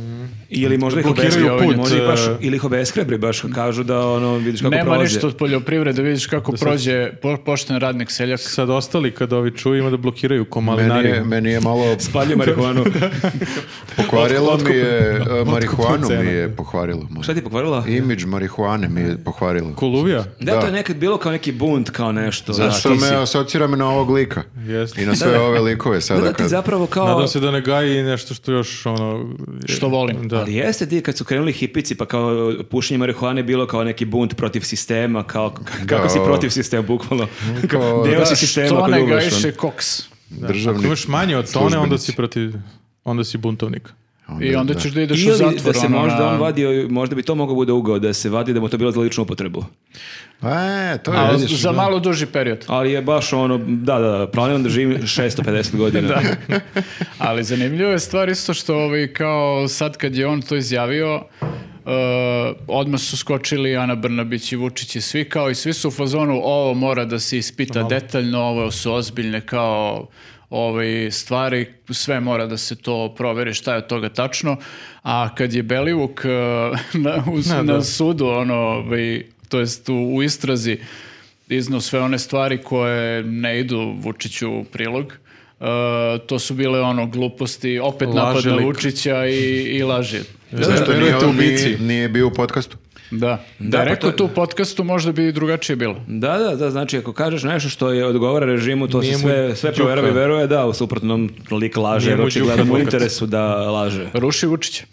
Ili možda ih
Blokiraju
obeskrebre,
put,
možda ih baš,
e.
ili ih obeskrebre baš, kažu da ono, vidiš kako
Nema
prolaze.
ništa od poljoprivrede, vidiš kako prođe po, pošten radnik seljak.
Sad ostali kad ovi čuju ima da blokiraju
Meni
komalinari.
je, meni je
(laughs)
malo
Spaljuju marihuanu.
pokvarilo mi je, e, marihuanu
cena.
mi je pokvarilo. moje.
Šta ti je pokvarila?
Imidž marihuane mi je pokvarilo.
Koluvija?
Da, to je nekad bilo kao neki bunt, kao nešto.
Zato
da,
što
ti si-
me asocira me na ovog lika.
Jeste.
I na sve ove likove sada.
Da, da, ti
kad-
zapravo kao...
Nadam se da ne gaji nešto što još ono... je-
Što volim.
Da.
Ali jeste ti kad su krenuli hipici pa kao pušenje marihuane je bilo kao neki bunt protiv sistema, kao k- kako si
Kao-
protiv sistema bukvalno.
Mm.
Kao-
Deo
Da,
si sistema
što
ako
ne
duvaš, ono.
gajiše koks.
Državni
Ako imaš manje od tone, onda si
službenici.
protiv... Onda si buntovnik.
I onda
da.
ćeš da ideš u
Ili
zatvor.
da se
ono,
možda
na-
on vadio, možda bi to mogao bude ugao, da se vadi da mu to bilo za ličnu upotrebu.
E, to je,
A,
vidiš,
za
da.
malo duži period.
Ali je baš ono, da, da, planiram da živim 650
(laughs)
godina.
Ali zanimljiva je stvar isto što ovaj, kao sad kad je on to izjavio, uh, odmah su skočili Ana Brnabić i Vučić i svi kao i svi su u fazonu ovo mora da se ispita detaljno, ovo su ozbiljne kao ovaj, stvari, sve mora da se to proveri šta je od toga tačno, a kad je Belivuk uh, (laughs) na, u-
Da,
na
da.
sudu, ono, ovaj, to jest u, u istrazi, iznao sve one stvari koje ne idu Vučiću u prilog. E, to su bile ono gluposti, opet
Laže
napad na
lik.
Vučića i, i laži.
Zašto nije,
Vjerujete
on, nije,
ubici.
nije bio u podcastu?
Da.
Da,
Da,
pa
je rekao
to-
tu u podcastu možda bi drugačije bilo.
Da, da, da, znači ako kažeš nešto što je odgovara režimu, to
Nije
se
mu
sve, sve
đuka.
proverava i veruje, da, u suprotnom lik laže,
Nije
jer
mu
očigledno
đuka
mu u
advokat.
interesu da laže.
Ruši Vučića.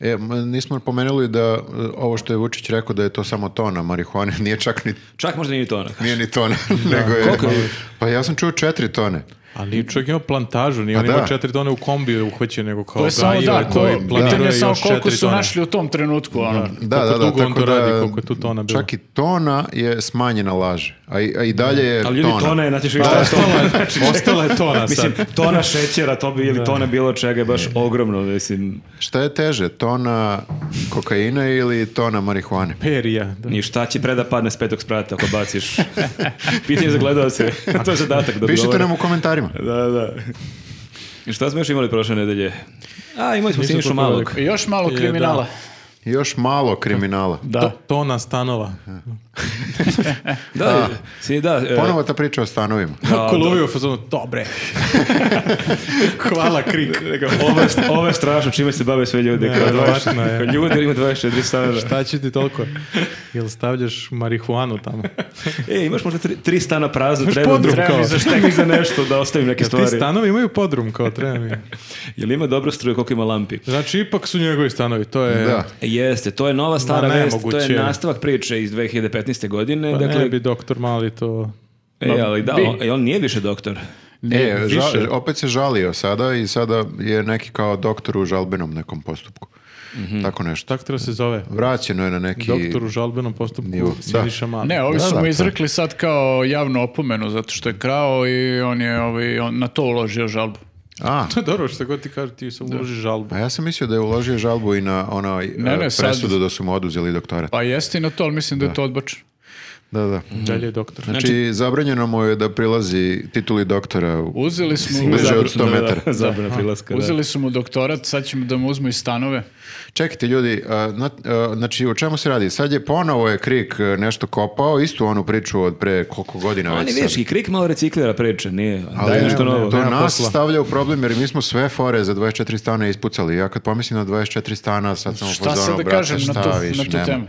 E, m, nismo pomenuli da e, ovo što je Vučić rekao da je to samo tona marihuane, nije čak ni,
Čak možda nije to ono.
nije ni (laughs) tona, nego je...
Koliko je?
Pa ja sam čuo četiri tone.
Ali čovjek ima plantažu, nije
Pa
on imao
da.
četiri tone u kombiju uhvaćen, nego kao
To je samo
gajio
da,
to
ko,
Pa i planirao
pitanje je
je
samo
još
koliko
četiri
su
tone.
našli u tom trenutku. Ono.
Koliko
Da, da, da,
dugo on to
tako
radi,
da,
koliko je tu tona bilo.
Čak i tona je smanjena laže, a i, a i dalje je
Ali ljudi, tona je, znači, šta je to?
Ostala
(laughs)
je, ostala je tona sad.
Mislim, tona šećera, to bi, ili tona bilo čega je baš ogromno, mislim,
Šta je teže, tona kokaina ili tona marihuane?
Perija. Da.
ni šta će pre da padne s petog sprata ako
(laughs)
baciš. Pitanje za gledalce, (laughs) to je zadatak da
Pišite
odgovore.
nam u komentarima.
Da, da. I šta smo još imali prošle nedelje? A, imali smo
Nisam
Sinišu
to
Malog.
pogledao.
I još malo
Je,
kriminala.
Još malo kriminala.
Da.
Tona stanova. (laughs)
Da, si, da, e,
Ponovo ta priča o stanovima.
Kako lovio u fazonu,
(laughs)
dobre. Hvala, krik. Rekao,
Ovo je, ovo je strašno čime se bave sve ljudi.
Ne,
Kao
verovatno
20
je.
kao Ljudi ima 24 stana.
Šta će ti toliko? Jel stavljaš marihuanu tamo?
E, imaš možda tri, tri stana prazno, treba
podrum
drugo.
kao.
Treba mi (laughs) za štek, za nešto, da ostavim neke
Ti
stvari.
stanovi imaju podrum, kao treba mi.
Jel ima dobro struje, koliko ima lampi?
Znači, ipak su njegovi stanovi, to je...
Da.
Jeste, to je nova stara
Ma,
vest, to je
nemoguće.
nastavak priče iz 2015.
E,
godine.
Pa
dakle,
ne bi doktor mali to...
e, ali da,
bi.
on, e, on nije više doktor.
E, žal-
više.
opet se žalio sada i sada je neki kao doktor u žalbenom nekom postupku. Tako nešto.
Tako treba se zove.
Vraćeno je na neki...
Doktor u žalbenom postupku
Nivo, da.
Siniša Mali.
Ne, ovi
Da,
su
da,
mu
to je.
izrekli sad kao javnu opomenu zato što je krao i on je ovaj, on na to uložio žalbu.
A,
Dobro, što god ti kaže, ti sam uloži žalbu.
a ja sam mislio da je uložio žalbu i na ono
Ne, ne,
e,
sad-
presudu da su mu oduzeli doktorat.
Pa jeste i na to, ali mislim da, je to odbačeno.
Da, da.
Dalje je doktor.
Znači, zabranjeno mu je da prilazi tituli doktora u
Uzeli smo,
Bliže
uzeli,
od 100 metara.
(laughs) Zabrana prilaska, da.
uzeli su mu doktorat, sad ćemo da mu uzmu i stanove.
Čekajte ljudi, a, na- a, znači o čemu se radi? Sad je ponovo je Krik e, nešto kopao, istu onu priču od pre koliko godina
Ali
već
vidiš,
sad.
i Krik malo reciklira priče, nije.
Ali
Daj nešto
ne,
novo.
to
nema
nas
posla.
stavlja u problem jer mi smo sve fore za 24 stana ispucali. Ja kad pomislim na 24 stana, sad sam u
Šta
fazonu,
sad da
brate,
kažem na
šta
tu,
više,
na tu
nema.
temu?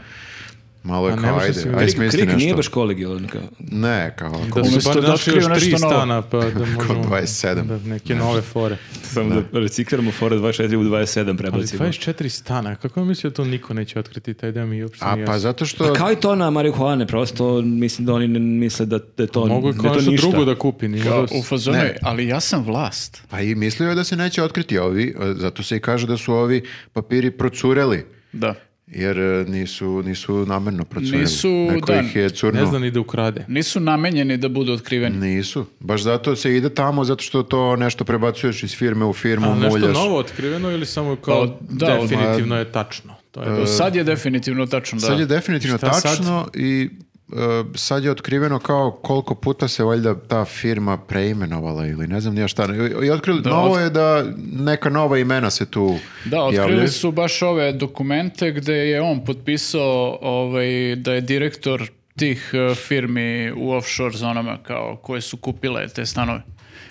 Malo je
A ne
kao,
može
ajde,
se mi-
ajde
Krik-
smisli
Krik
nešto.
nije baš kolegijalan. kao.
Ne, kao,
Da su
Umjesto
bar
da
našli
otkriju
još tri
nešto novo.
stana, pa da možemo...
27.
Da, neke nove fore.
Samo da recikliramo fora 24 u 27
Ali
prebacimo.
24 stana, kako mi mislio da to niko neće otkriti, taj da mi uopšte
A
nije
pa
jasno.
zato što...
Pa kao i to na marihuane, prosto mislim da oni ne misle da, da je to,
Mogu i
da je to
konačno
ništa.
drugo da kupi, nije
Kao,
da-
u fazonu je,
Ne.
ali ja sam vlast.
Pa i mislio je da se neće otkriti ovi, e, zato se i kaže da su ovi papiri procureli.
Da.
Jer e, nisu, nisu namerno procureli.
Nisu,
Neko
da,
ih je curno.
Ne zna ni da ukrade.
Nisu namenjeni da budu otkriveni.
Nisu. Baš zato se ide tamo, zato što to nešto prebacuješ iz firme u firmu,
A nešto
muljaš.
novo otkriveno ili samo kao
Pa, da, odmah-
definitivno je tačno? To je
Do sad je definitivno tačno da.
E, Sad je definitivno
Šta sad?
tačno i e, sad je otkriveno kao koliko puta se valjda ta firma preimenovala ili ne znam ni ja šta. I- I otkrili, novo je da neka nova imena se tu
Da, otkrili
javljaju.
su baš ove dokumente gde je on potpisao ovaj, da je direktor tih eh, firmi u offshore zonama kao koje su kupile te stanove.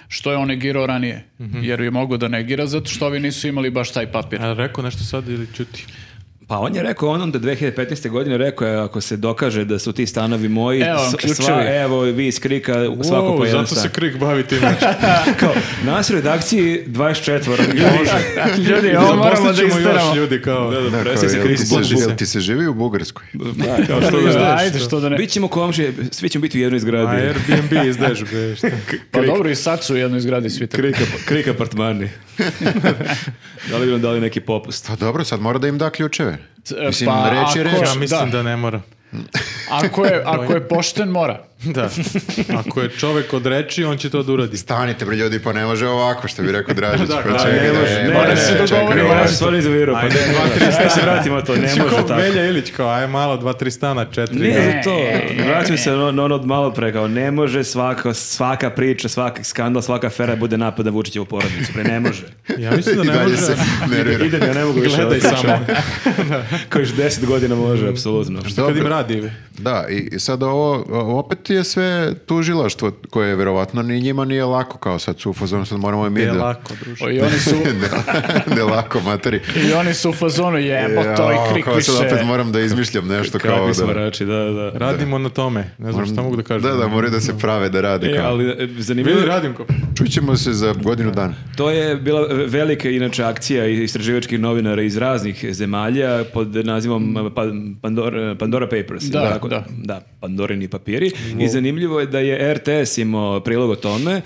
Što je on negirao ranije,
Mhm.
jer je mogao da negira zato što ovi nisu imali baš taj papir.
A rekao nešto sad ili čuti?
Pa on je rekao onom da 2015. godine rekao je ako se dokaže da su ti stanovi moji,
Evo vam
s-
ključevi.
sva, evo vi iz krika svako po
Wow,
jedan
zato
stan.
se krik bavi (laughs) tim. znači.
(laughs) Kao, nas u redakciji 24. (laughs)
Ljudi,
Zaposlit ćemo još ljudi kao...
Da, da,
Da,
presi
kao, jel
Krik
ti se
zbog
živi- (laughs)
buze.
jel ti se živi u Bugarskoj?
Da, kao što
Što
ga-
izdaješ?
Ajde, što da ne.
Bit ćemo komšije, svi ćemo biti u jednoj
A
zgradi.
Airbnb izdeš, bre, (laughs) šta?
Pa dobro, i sad su u jednoj zgradi svi tako.
Krik, krik apartmani. da li bi vam dali neki popust?
Pa dobro, sad mora da im da ključeve.
E,
Mislim,
pa
reč je
ako-
reč.
Ja mislim da
Da.
ne (laughs) mora.
Ako je, ako je pošten, mora.
Da. Ako je čovek od reči, on će to da uradi.
Stanite bre ljudi, pa ne može ovako što bi rekao Dražić.
Da,
pa
da,
čekaj,
ne
da,
može,
e,
ne,
pa
ne,
ne,
se
čekaj,
dogovorimo,
ovo je-
ja
Ja se stvarno izolirao. Pa
Ajde, dva, tri
Ajde se vratimo to, ne
Znači,
može
ko
tako.
Velja Ilić, kao, aj malo, dva, tri stana, četiri.
Ne,
Ne.
za to. Vraćam se na ono od malo pre, kao ne može svaka, svaka priča, svaki skandal, svaka afera bude napad na Vučićevu porodicu. Pre ne može.
Ja mislim da
I
ne
dalje
može.
se nervira.
Idem, ja ne mogu
(laughs)
više.
Gledaj
ovo.
samo.
Kao još deset godina može, apsolutno.
Kad im
Dobro.
radi.
Da, i i sad ovo, o- opet je sve tužilaštvo koje je verovatno ni njima nije lako, kao sad su u fazonu, sad moramo i mi
Je
da... (laughs)
lako, druže.
O, I oni su,
Ne- ne lako, materi.
i oni su u fazonu, jebo to
Ja,
i krik
kao
više.
sad opet moram da izmišljam nešto kao
Kakvi
da...
smo rači, da, da.
Radimo na tome. Ne znam šta mogu da kažem.
Da, da, moraju da se prave da rade.
E,
Kao.
ali e, zanimljivo
Vidi,
je
radim ko.
Čućemo se za godinu dana.
To je bila velika inače akcija istraživačkih novinara iz raznih zemalja pod nazivom eh, pa- Pandora, Pandora Papers.
Da,
jel
da.
da, Pandorini papiri. I zanimljivo je da je RTS imao prilog o tome.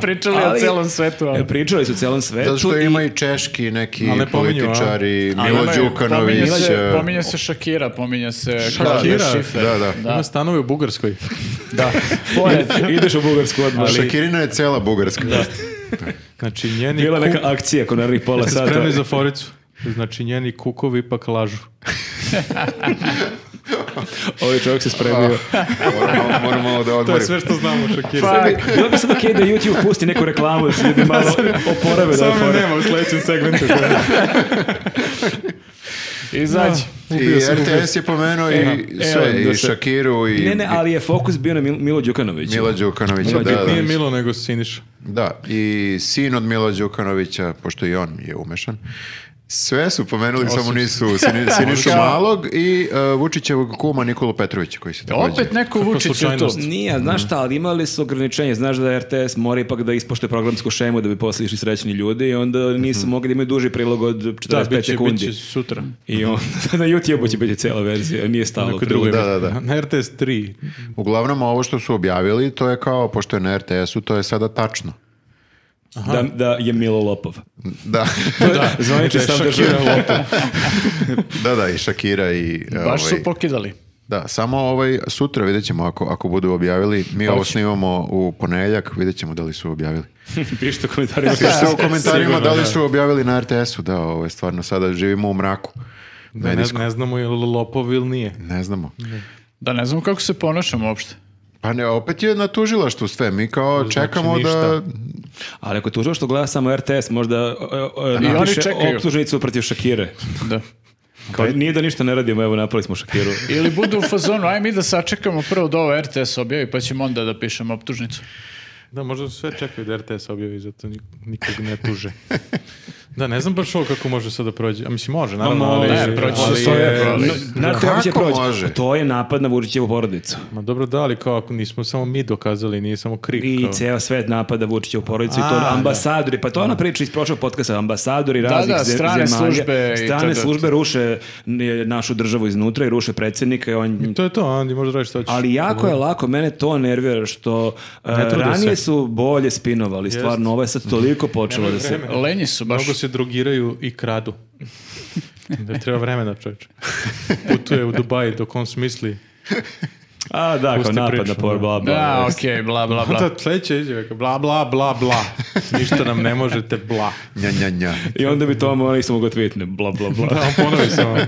Pričali o
Ali-
celom svetu. ali-
E, Pričali su o celom svetu.
Zato što
i-
ima i češki neki
Ali ne pominju, a?
političari,
Ali
Milo
imaju-
Đukanović.
Pominje se,
e,
pominje se Shakira, pominje se
Shakira?
Claudia Schiffer.
Da, da.
Ima stanove u Bugarskoj.
Pored, ideš u Bugarsku odmah. ali
Šakirina je cela Bugarska.
Znači, njeni
Bila je
kuk...
neka akcija kod narednih pola
Jeste
sata.
spremni za foricu? Znači, njeni kukovi ipak lažu.
Ovaj čovjek se spremio.
Moramo, moramo malo da
To je
odmorim.
sve što znamo o Šakiru.
Bilo bi- Bilo bi sad okej da YouTube pusti neku reklamu da se ljudi malo oporave da
Samo
je
me nema u sledećem segmentu.
Izađi.
I RTS je pomenuo i sve,
evo, da
i
se-
Šakiru, i
Ne, ne, ali je fokus bio na Mil- Milo Đukanovića.
Mila Đukanovića. Da,
Nije
da,
Milo, nego Siniša.
da, i sin od Mila Đukanovića, pošto i on je umešan. Sve su pomenuli, samo nisu Sini- Sinišu Malog i uh, Vučićevog kuma Nikolu Petrovića koji se također...
Pa Opet neko Vučić je tu.
slučajnost.
Nije, znaš šta, ali imali su ograničenje. Znaš da RTS mora ipak da ispoštuje programsku šemu da bi poslije išli srećni ljudi i onda nisu mogli da imaju duži prilog od 45
Da, bit će, bit
sekundi.
će sutra.
I onda (laughs) na YouTube će biti cijela verzija, nije stalo.
Neko
prilogu.
drugo.
Da, da, da.
Na RTS 3.
Uglavnom, ovo što su objavili, to je kao, pošto je na RTS-u, to je sada tačno.
Da, da je Milo Lopov.
Da, (laughs)
(laughs) Da, zvanični stav države.
da, da, i Shakira i...
Baš su
ovaj,
pokidali.
Da, samo ovaj, sutra vidjet ćemo ako, ako budu objavili. Mi ovo snimamo u ponedjeljak, vidjet ćemo da li su objavili.
(laughs) Pišite u komentarima.
Pišite u komentarima
Sigurno,
da li
da.
su objavili na RTS-u, da, ovaj, stvarno sada živimo u mraku.
Ne,
Medijsko.
ne znamo je li lopov ili nije.
Ne znamo.
Da ne znamo kako se ponašamo uopšte.
Pa ne, opet je na tužilaštvu sve. Mi kao čekamo da...
ništa.
Ali ako tužno što gleda samo RTS, možda e, e, napiše
oni čekaju.
optužnicu protiv Šakire.
Da.
Kao, nije da ništa ne radimo, evo napravili smo Šakiru.
Ili budu u fazonu, aj mi da sačekamo prvo da ovo RTS objavi, pa ćemo onda da pišemo optužnicu.
Da, možda sve čekaju da RTS objavi, zato nik- nikog ne tuže. Da, ne znam baš ovo kako može sad da prođe. A mislim, može, naravno, ali...
ne, proći će
ali
sve,
je-
proći.
No,
Na to
Kako
će proći.
može?
To je napad na Vučićevu porodicu.
Ma dobro, da, ali kao ako nismo samo mi dokazali, nije samo krik.
I
kao.
ceo svet napada Vučićevu porodicu i
A,
to
da.
ambasadori. Pa to je ona priča iz prošlog podcasta. Ambasadori
Da,
raznih
da,
ze-
strane
zemalja.
službe i
strane
to, da.
službe ruše n- našu državu iznutra i ruše predsjednika. I on,
To je to, Andi, možda radiš što hoćeš.
Ali jako je lako, mene to nervira što e,
Ne trude
ranije
se.
su bolje spinovali, stvarno, ovo je sad toliko počelo
Nemaju
da se...
vremena.
Lenji su baš.
Mnogo se drogiraju i kradu. Da treba vremena, čovječe. Putuje u Dubaji dok on smisli.
A da, kao
Pusti
napad
priču,
na por,
da.
bla, bla.
Da, okej, bla, bla, bla.
Da, sledeće izjave, kao bla, bla, bla, bla. Ništa nam ne možete, bla.
Nja, nja, nja.
I onda bi to morali isto mogo tweetne, bla, bla, bla.
Da, on ponovi samo. Ja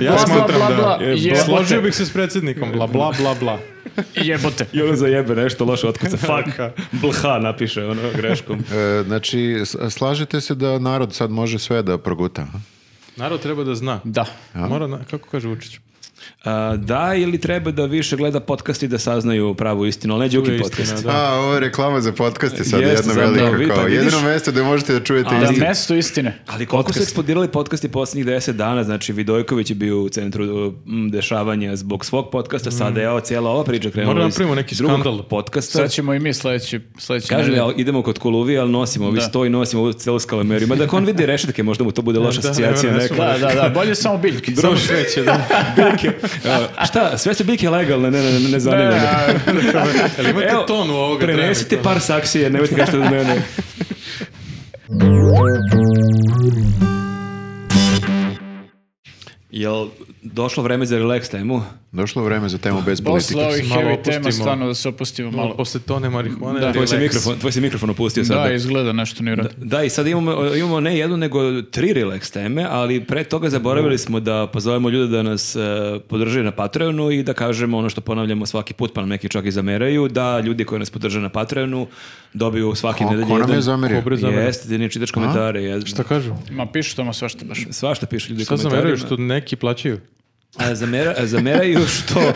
Bla, bla,
smatram
bla,
da...
bla,
je,
jebote.
složio bih se s predsjednikom, bla, bla, bla, bla.
Jebote.
I onda zajebe nešto
(laughs)
loše, otkuca, fuck, blha napiše, ono, greškom.
E, znači, s- slažete se da narod sad može sve da proguta? a?
Narod treba da zna.
Da.
Mora, na- kako kaže Vučić?
A, da, ili treba da više gleda podcast i da saznaju pravu istinu, ali ne Đuki
je
podcast.
istina, da.
A, ovo je reklama za podcast je sad
Jeste,
jedno
zapravo,
veliko.
vi- pa
kao,
vidiš-
jedino mesto gde možete da čujete
Ali-
Da,
istinu.
mesto istine.
Ali koliko su eksplodirali podcasti posljednjih 10 dana, znači Vidojković je bio u centru mm, dešavanja zbog svog podcasta, sada je ovo cijela ova priča krenula
Mm. Moramo
iz
napravimo neki
drugog
skandal.
podcasta.
Sad ćemo i mi sledeći, sledeći
Kaže
nedelje.
ali idemo kod Koluvi, ali nosimo ovi
Da.
sto i nosimo ovu celu skalameriju. Ma da ako on vidi rešetke, možda mu to bude loša
Da,
asocijacija
ne, ne,
neka.
ne,
Da, da, da, bolje samo biljke.
Samo šveće,
(laughs)
da.
A, Šta, sve su biljke legalne, ne, ne, ne, ne zanima me.
Da,
(laughs)
Jel imate
Evo,
tonu ovoga?
Prenesite
pa-
trenutno?
par saksije, nemojte kažete od mene. Jel došlo vreme za relax temu?
Došlo vreme za temu bez politike.
Posle ovih
Malo
heavy tema
opustimo.
stvarno da se opustimo
Malo
malo.
posle tone marihuane.
Da.
Tvoj se
relax.
mikrofon, tvoj se mikrofon opustio sada.
Da, izgleda nešto nije u redu.
Da, i sad imamo, imamo ne jednu, nego tri relax teme, ali pre toga zaboravili smo da pozovemo ljude da nas e, podrže na Patreonu i da kažemo ono što ponavljamo svaki put, pa nam neki čak i zameraju, da ljudi koji nas podrže na Patreonu dobiju svaki
Ko-
nedelje
ko nam je zamerio?
Ko bre zamerio?
Jeste, ti ne čitaš komentare. jeste.
Šta kažu?
Ma pišu tamo svašta baš.
Svašta pišu ljudi u
Šta
komentarima.
zameraju što neki plaćaju?
A, zamera- a, zameraju što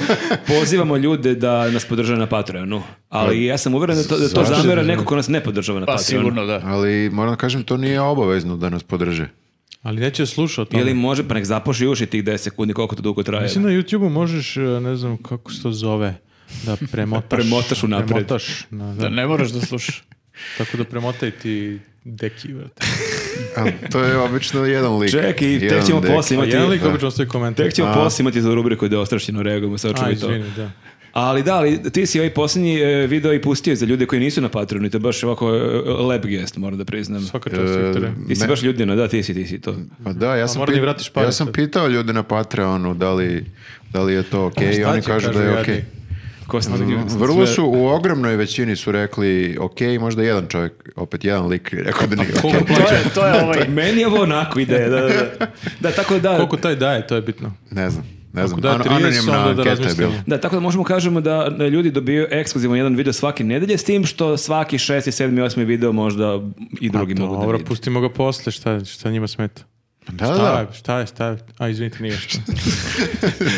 pozivamo ljude da nas podrže na Patreonu. Ali
Pa,
ja sam uveren da to, da to
zašto?
zamera neko ko nas ne podržava na
Pa
Patreonu.
sigurno da.
Ali moram da kažem, to nije obavezno da nas podrže.
Ali neće slušati.
Ili može, pa nek zapoši uši tih 10 sekundi, koliko to dugo traje.
Mislim na YouTube-u možeš, e, ne znam kako se to zove, da premotaš.
Premotaš unapred.
Premotaš, da, da.
Da ne moraš da slušaš.
Tako da premotaj ti deki, vrate.
Ali to je obično jedan lik.
Čekaj, tek
Jedan
ćemo
dek.
poslije
Pa
imati...
jedan lik obično ostaje komentar.
Tek ćemo poslije imati za rubriku da ostrašćeno reagujemo, sad
A,
čuvi to.
izvini, da.
Ali da, ali ti si ovaj posljednji e, video i pustio za ljude koji nisu na Patreonu i to je baš ovako e, lep gest, moram da priznam.
Svaka čast, Viktore.
Ti si
Me-
baš ljudina, da, ti si, ti si to.
Pa da, ja
A
sam,
moram da
pit-
vratiš pare
ja sam
sad.
pitao ljude na Patreonu da li, da li je to ok i
Šta
oni
će,
kažu da je ok.
jadni?
Ko sam
Vrlo su, u ogromnoj većini su rekli ok, možda jedan čovjek, opet jedan lik je rekao da nije ok.
Koliko
To
plaća?
je, to je ovaj.
Meni je ovo onako ideja, da, da, da. Da, tako da...
Koliko taj daje, to je bitno.
Ne znam, ne znam.
Ako Pa da
Ano-
30,
anonimna
onda da
anketa je bila.
razmislimo.
Da, tako da možemo kažemo da e, ljudi dobiju ekskluzivno jedan video svake nedelje, s tim što svaki šesti, sedmi, osmi video možda i drugi mogu da
Pa Dobro,
vide.
pustimo ga posle, šta, šta njima smeta.
Pa Da,
Šta,
da.
je, šta je, šta je? A, izvinite, nije.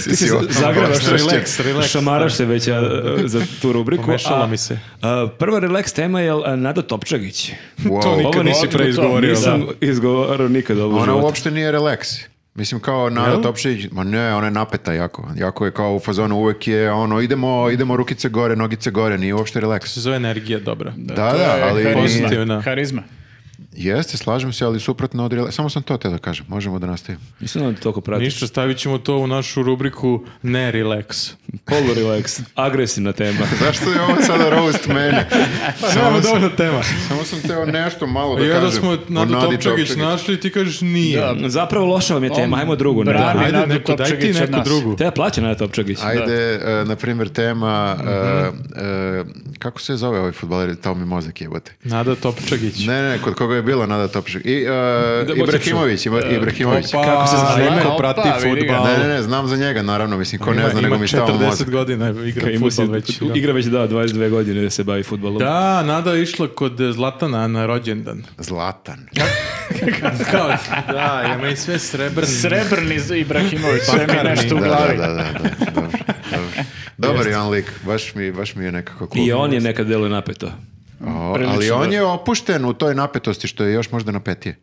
Ti si
se zagravaš,
ostrašćen.
relax, šamaraš se već a, e, za tu rubriku.
Pomešala
a,
mi se.
a, prva relax tema je a, Nada Topčagić.
Wow.
To nikad
Ovo
nisi
nikad
preizgovorio.
Nisam izgovarao nikad ovo u
Ona
životu.
uopšte nije relax. Mislim kao Nada Topšić, ma ne, ona je napeta jako. Jako je kao u fazonu uvek je ono idemo, idemo rukice gore, nogice gore, nije uopšte relax.
se zove energija dobra.
Da,
To
da,
je
ali
Harizma.
Pozitivna.
Harizma.
jeste, slažem se, ali suprotno od relax. Samo sam to te da kažem, možemo da nastavimo. (laughs)
Nisam da toliko pratiš.
Ništa, stavit ćemo to u našu rubriku ne relax.
Polu relax. Agresivna tema.
Zašto je ovo sada roast mene?
Samo
samo, sam,
dovoljna (laughs) tema.
samo sam teo nešto malo Pa da
I
kažem.
onda smo
o
Nadu
Nadi
Topčagić našli ti kažeš nije.
Da.
Zapravo loša vam je tema, ajmo drugu. ne?
brani
Ajde,
Nadu
neko, daj ti
Topčagić od
neku
nas.
drugu.
Te ja plaća Nada Topčagić.
Ajde, e, na primjer, tema, e, e, kako se zove ovaj futbaler, tao mi mozak jebote.
Nada Topčagić.
Ne, ne, kod koga je bila Nada Topšek. I, e,
Da,
Ibrahimović, Ibra- Ibrahimović.
Opa,
Kako se zove?
Neko
Opa,
prati
vidi ga.
futbal.
Ne, ne, ne, znam za njega, naravno, mislim, ko ne zna, nego mi stava
Ima
mozak.
40 godina, igra
Ka- ima
futbal
si-
već. da.
Igra već da, 22 godine da se bavi futbolom.
Da, Nada je išla kod eh, Zlatana na rođendan.
Zlatan.
Kao, da, ima i sve srebrne.
Srebrni z- Ibrahimović, sve mi
Bakarni,
nešto u
Da,
glavi.
da, da, da, da, dobro, dobro. Dobar je on lik, baš mi, baš mi je nekako cool.
I on je nekad delo napeto.
O, ali
prilično
on
da.
je opušten u toj napetosti, što je još možda napetije.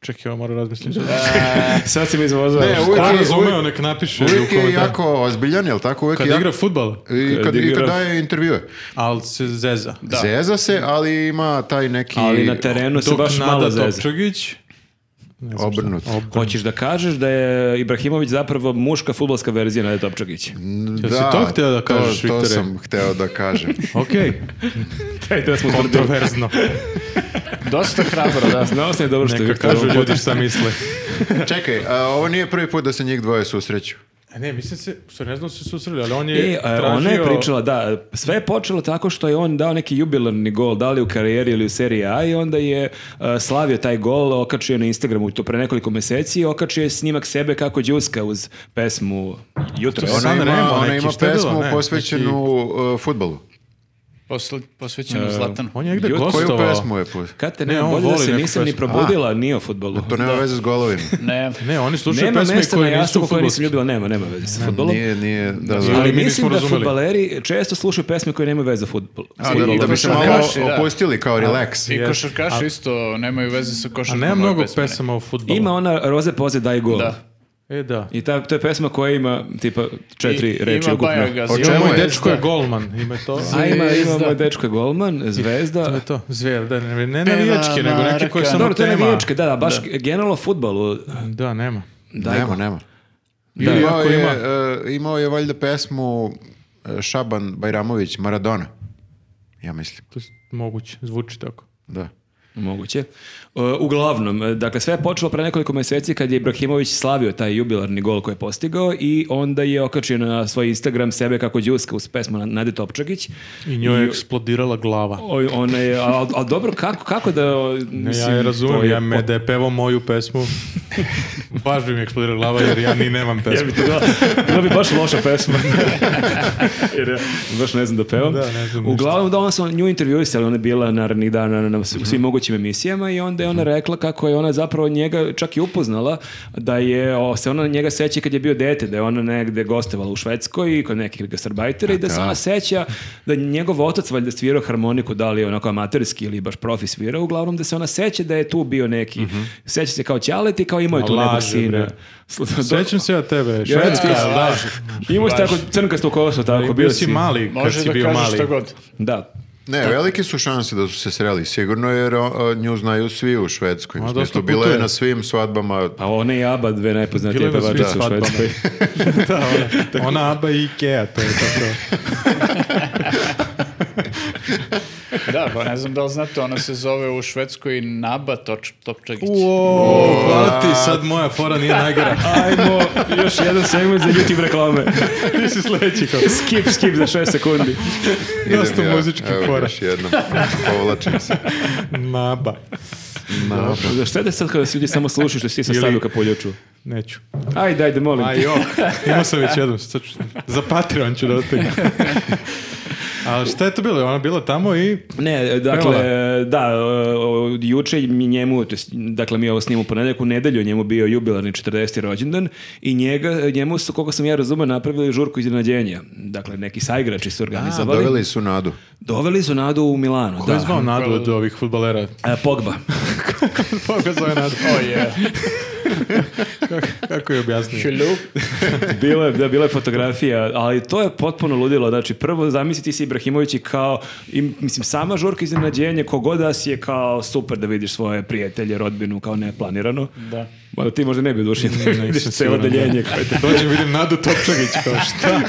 Čekaj, ovo moram razmisliti. E,
Sad si me izvozao.
Ne,
Ko
uvijek je-
razumeo, nek napiše u
Uvijek je
komentar.
jako ozbiljan, jel tako? Uvijek
Kad
je jako-
igra futbal,
I kad,
Kad
i kad
igra-
daje intervjue.
ali se zeza.
Zeza se, ali ima taj neki
Ali na terenu se
Dok
baš
Nada
malo zezao.
Topčagić, ne znam šta,
obrnut.
obrnut.
Hoćeš da kažeš da je Ibrahimović zapravo muška futbolska verzija Nade Topčagić?
Jel si to hteo da kažeš,
to, to
Viktore?
sam hteo da
(laughs)
kažem.
Okej,
Taj da smo tvrdili.
kontroverzno.
Dosta hrabro, da.
Znao sam je dobro što je
Neka
Viktor
kažu
ovo
ljudi šta misle.
Čekaj, a, ovo nije prvi put da se njih dvoje susreću.
A E, ne, mislim se, sorry, ne znam se susreli, ali on je
E, e,
tražio...
ona je pričala, da, sve je počelo tako što je on dao neki jubilarni gol, da li u karijeri ili u seriji A i onda je e, slavio taj gol, okačio je na Instagramu to pre nekoliko meseci i okačio je snimak sebe kako đuska uz pesmu Jutro.
To je
Ona
San
ima,
Remo
ona
neki,
ima
šta je bilo,
pesmu
ne,
posvećenu uh, futbolu.
Posle, posvećeno Zlatanu.
E, On je negde
Jut, koju
Koju
gostovao.
pesmu je put?
Kad te
Ne,
nema
on
bolje da
voli
se
neku
nisam ni
pesmu.
probudila, nije o futbolu.
To nema veze s golovima.
Ne.
Ne, oni slušaju
Nema
pesme
mesta na
koje nisu
jastuku koje nisam
futbolske.
ljubila, nema, nema veze sa futbolom.
Nije, nije, da, da.
Ali
Ali
mi nismo
mislim da
razumeli.
futbaleri često slušaju pesme koje nemaju veze sa futbolom.
A, da, da bi se malo
košarkaši, da.
opustili kao relax.
I
Yes.
košarkaši
A-
isto nemaju veze sa
A
košarkom.
nema
ove
mnogo
pesme, ne.
pesama o futbolu.
Ima ona Roze Poze daj gol.
Da.
E, da.
I ta, to je pesma koja ima tipa četiri
I-
reči
ima
ukupno.
Bajagaza.
O
Ima
čemu
Moj
je?
Bajagaza.
dečko je golman, ima to.
A ima, ima
Zvezda.
moj dečko je golman,
To
zvezda.
je to, zvezda, ne, ne navijačke, nego neke koje
Marka.
samo
Dobro, to je
tema.
navijačke, da, da, baš generalno futbolu.
Da, nema.
Daj
Nema,
gol.
nema.
Da,
imao,
iako
je,
ima.
e, imao je valjda pesmu e, Šaban Bajramović Maradona. Ja mislim,
To je moguće, zvuči tako.
da.
Moguće. E, Uglavnom, e, dakle sve je počelo pre nekoliko mjeseci kad je Ibrahimović slavio taj jubilarni gol koji je postigao i onda je okačio na svoj Instagram sebe kako đuska uz pesmu Na- Nade Topčagić.
I njoj je eksplodirala glava.
Oj, ona je, ali dobro, kako, kako da...
Ne,
mislim,
ja je
to
razumem,
je
ja me da je pevao moju
(laughs)
pesmu, baš bi mi eksplodirala glava jer ja ni nemam
Ja
pesmu.
bi to bila, bila bi baš loša pesma. (laughs) Jer ja baš ne znam da pevam.
Da, ne znam ništa.
Uglavnom, da onda su nju intervjuisali, ona je bila narednih dana na, na s- u svim mogućim emisijama i onda je ona rekla kako je ona zapravo njega čak i upoznala da je o, se ona njega seća kad je bio dete, da je ona negde gostovala u Švedskoj i kod nekih gastarbajtera i da se
da.
ona seća da je njegov otac valjda svirao harmoniku, da li je onako amaterski ili baš profi svirao, uglavnom da se ona seća da je tu bio neki, seća se kao ćalet i kao imao je tu nekog
Laže,
sina. (laughs)
bre. Sećam se ja tebe,
Švedska,
švedska,
da.
da.
Imao si tako crnkasto kosu, tako,
Bio si mali kad
Može
si
da
bio
kažeš
mali.
šta god.
Da.
Ne, velike su šanse da su se sreli, sigurno, jer o, nju znaju svi u Švedskoj.
Ma,
U
dosta
smislu, bila je
putuje. Pa,
na svim svadbama,
A ona pa i Aba, dve
Bilo
najpoznatije
je na svim
pevačice u
svadbama.
Švedskoj.
Da, ona, (laughs) ona Aba i Ikea, to je tako.
Da, pa ne znam da li znate, ona se zove u Švedskoj Naba Toč- Topčagić.
O, hvala ti, sad moja fora nije najgora.
(laughs)
(laughs)
Ajmo, još jedan segment za YouTube reklame. Ti si sledeći kao. Skip, skip za šest sekundi.
Idem
Dosta
ja.
muzičkih
Evo,
fora.
Još jednom, povlačim (laughs) se.
Naba.
Na,
Da šta da sad kada se ljudi samo slušaju što si ti sam
Ili-
stavio ka poljoču?
Neću.
Ajde, ajde, molim
(laughs) A
ti.
jok, imao sam već jednom. Sad ću, za Patreon ću da ostavim. A šta je to bilo? Ona je bila tamo i...
Ne, dakle, da, o, juče mi njemu, to jest, dakle mi ovo snimamo ponedjeljak, u nedelju je njemu bio jubilarni 40. rođendan i njega, njemu su, koliko sam ja razumio, napravili žurku iznenađenja. Dakle, neki saigrači su organizovali.
Doveli su nadu.
Doveli su Nadu u Milano.
Da je
da.
zvao nadu od ovih
(laughs)
futbalera?
E, Pogba.
Koga zove nadu?
Oh, yeah.
(laughs) Kako, kako je objasnio?
Hello.
(laughs)
bilo je, da, bila je fotografija, ali to je potpuno ludilo. Znači, prvo zamisliti si Ibrahimović i kao, im, mislim, sama žurka iznenađenje, kogod da si je kao super da vidiš svoje prijatelje, rodbinu, kao neplanirano.
Da.
Mada ti možda ne bi dušio da (laughs) vidiš
nisam
celo
siguran.
deljenje koje te
Dođem, vidim Nadu Topčagić, kao šta?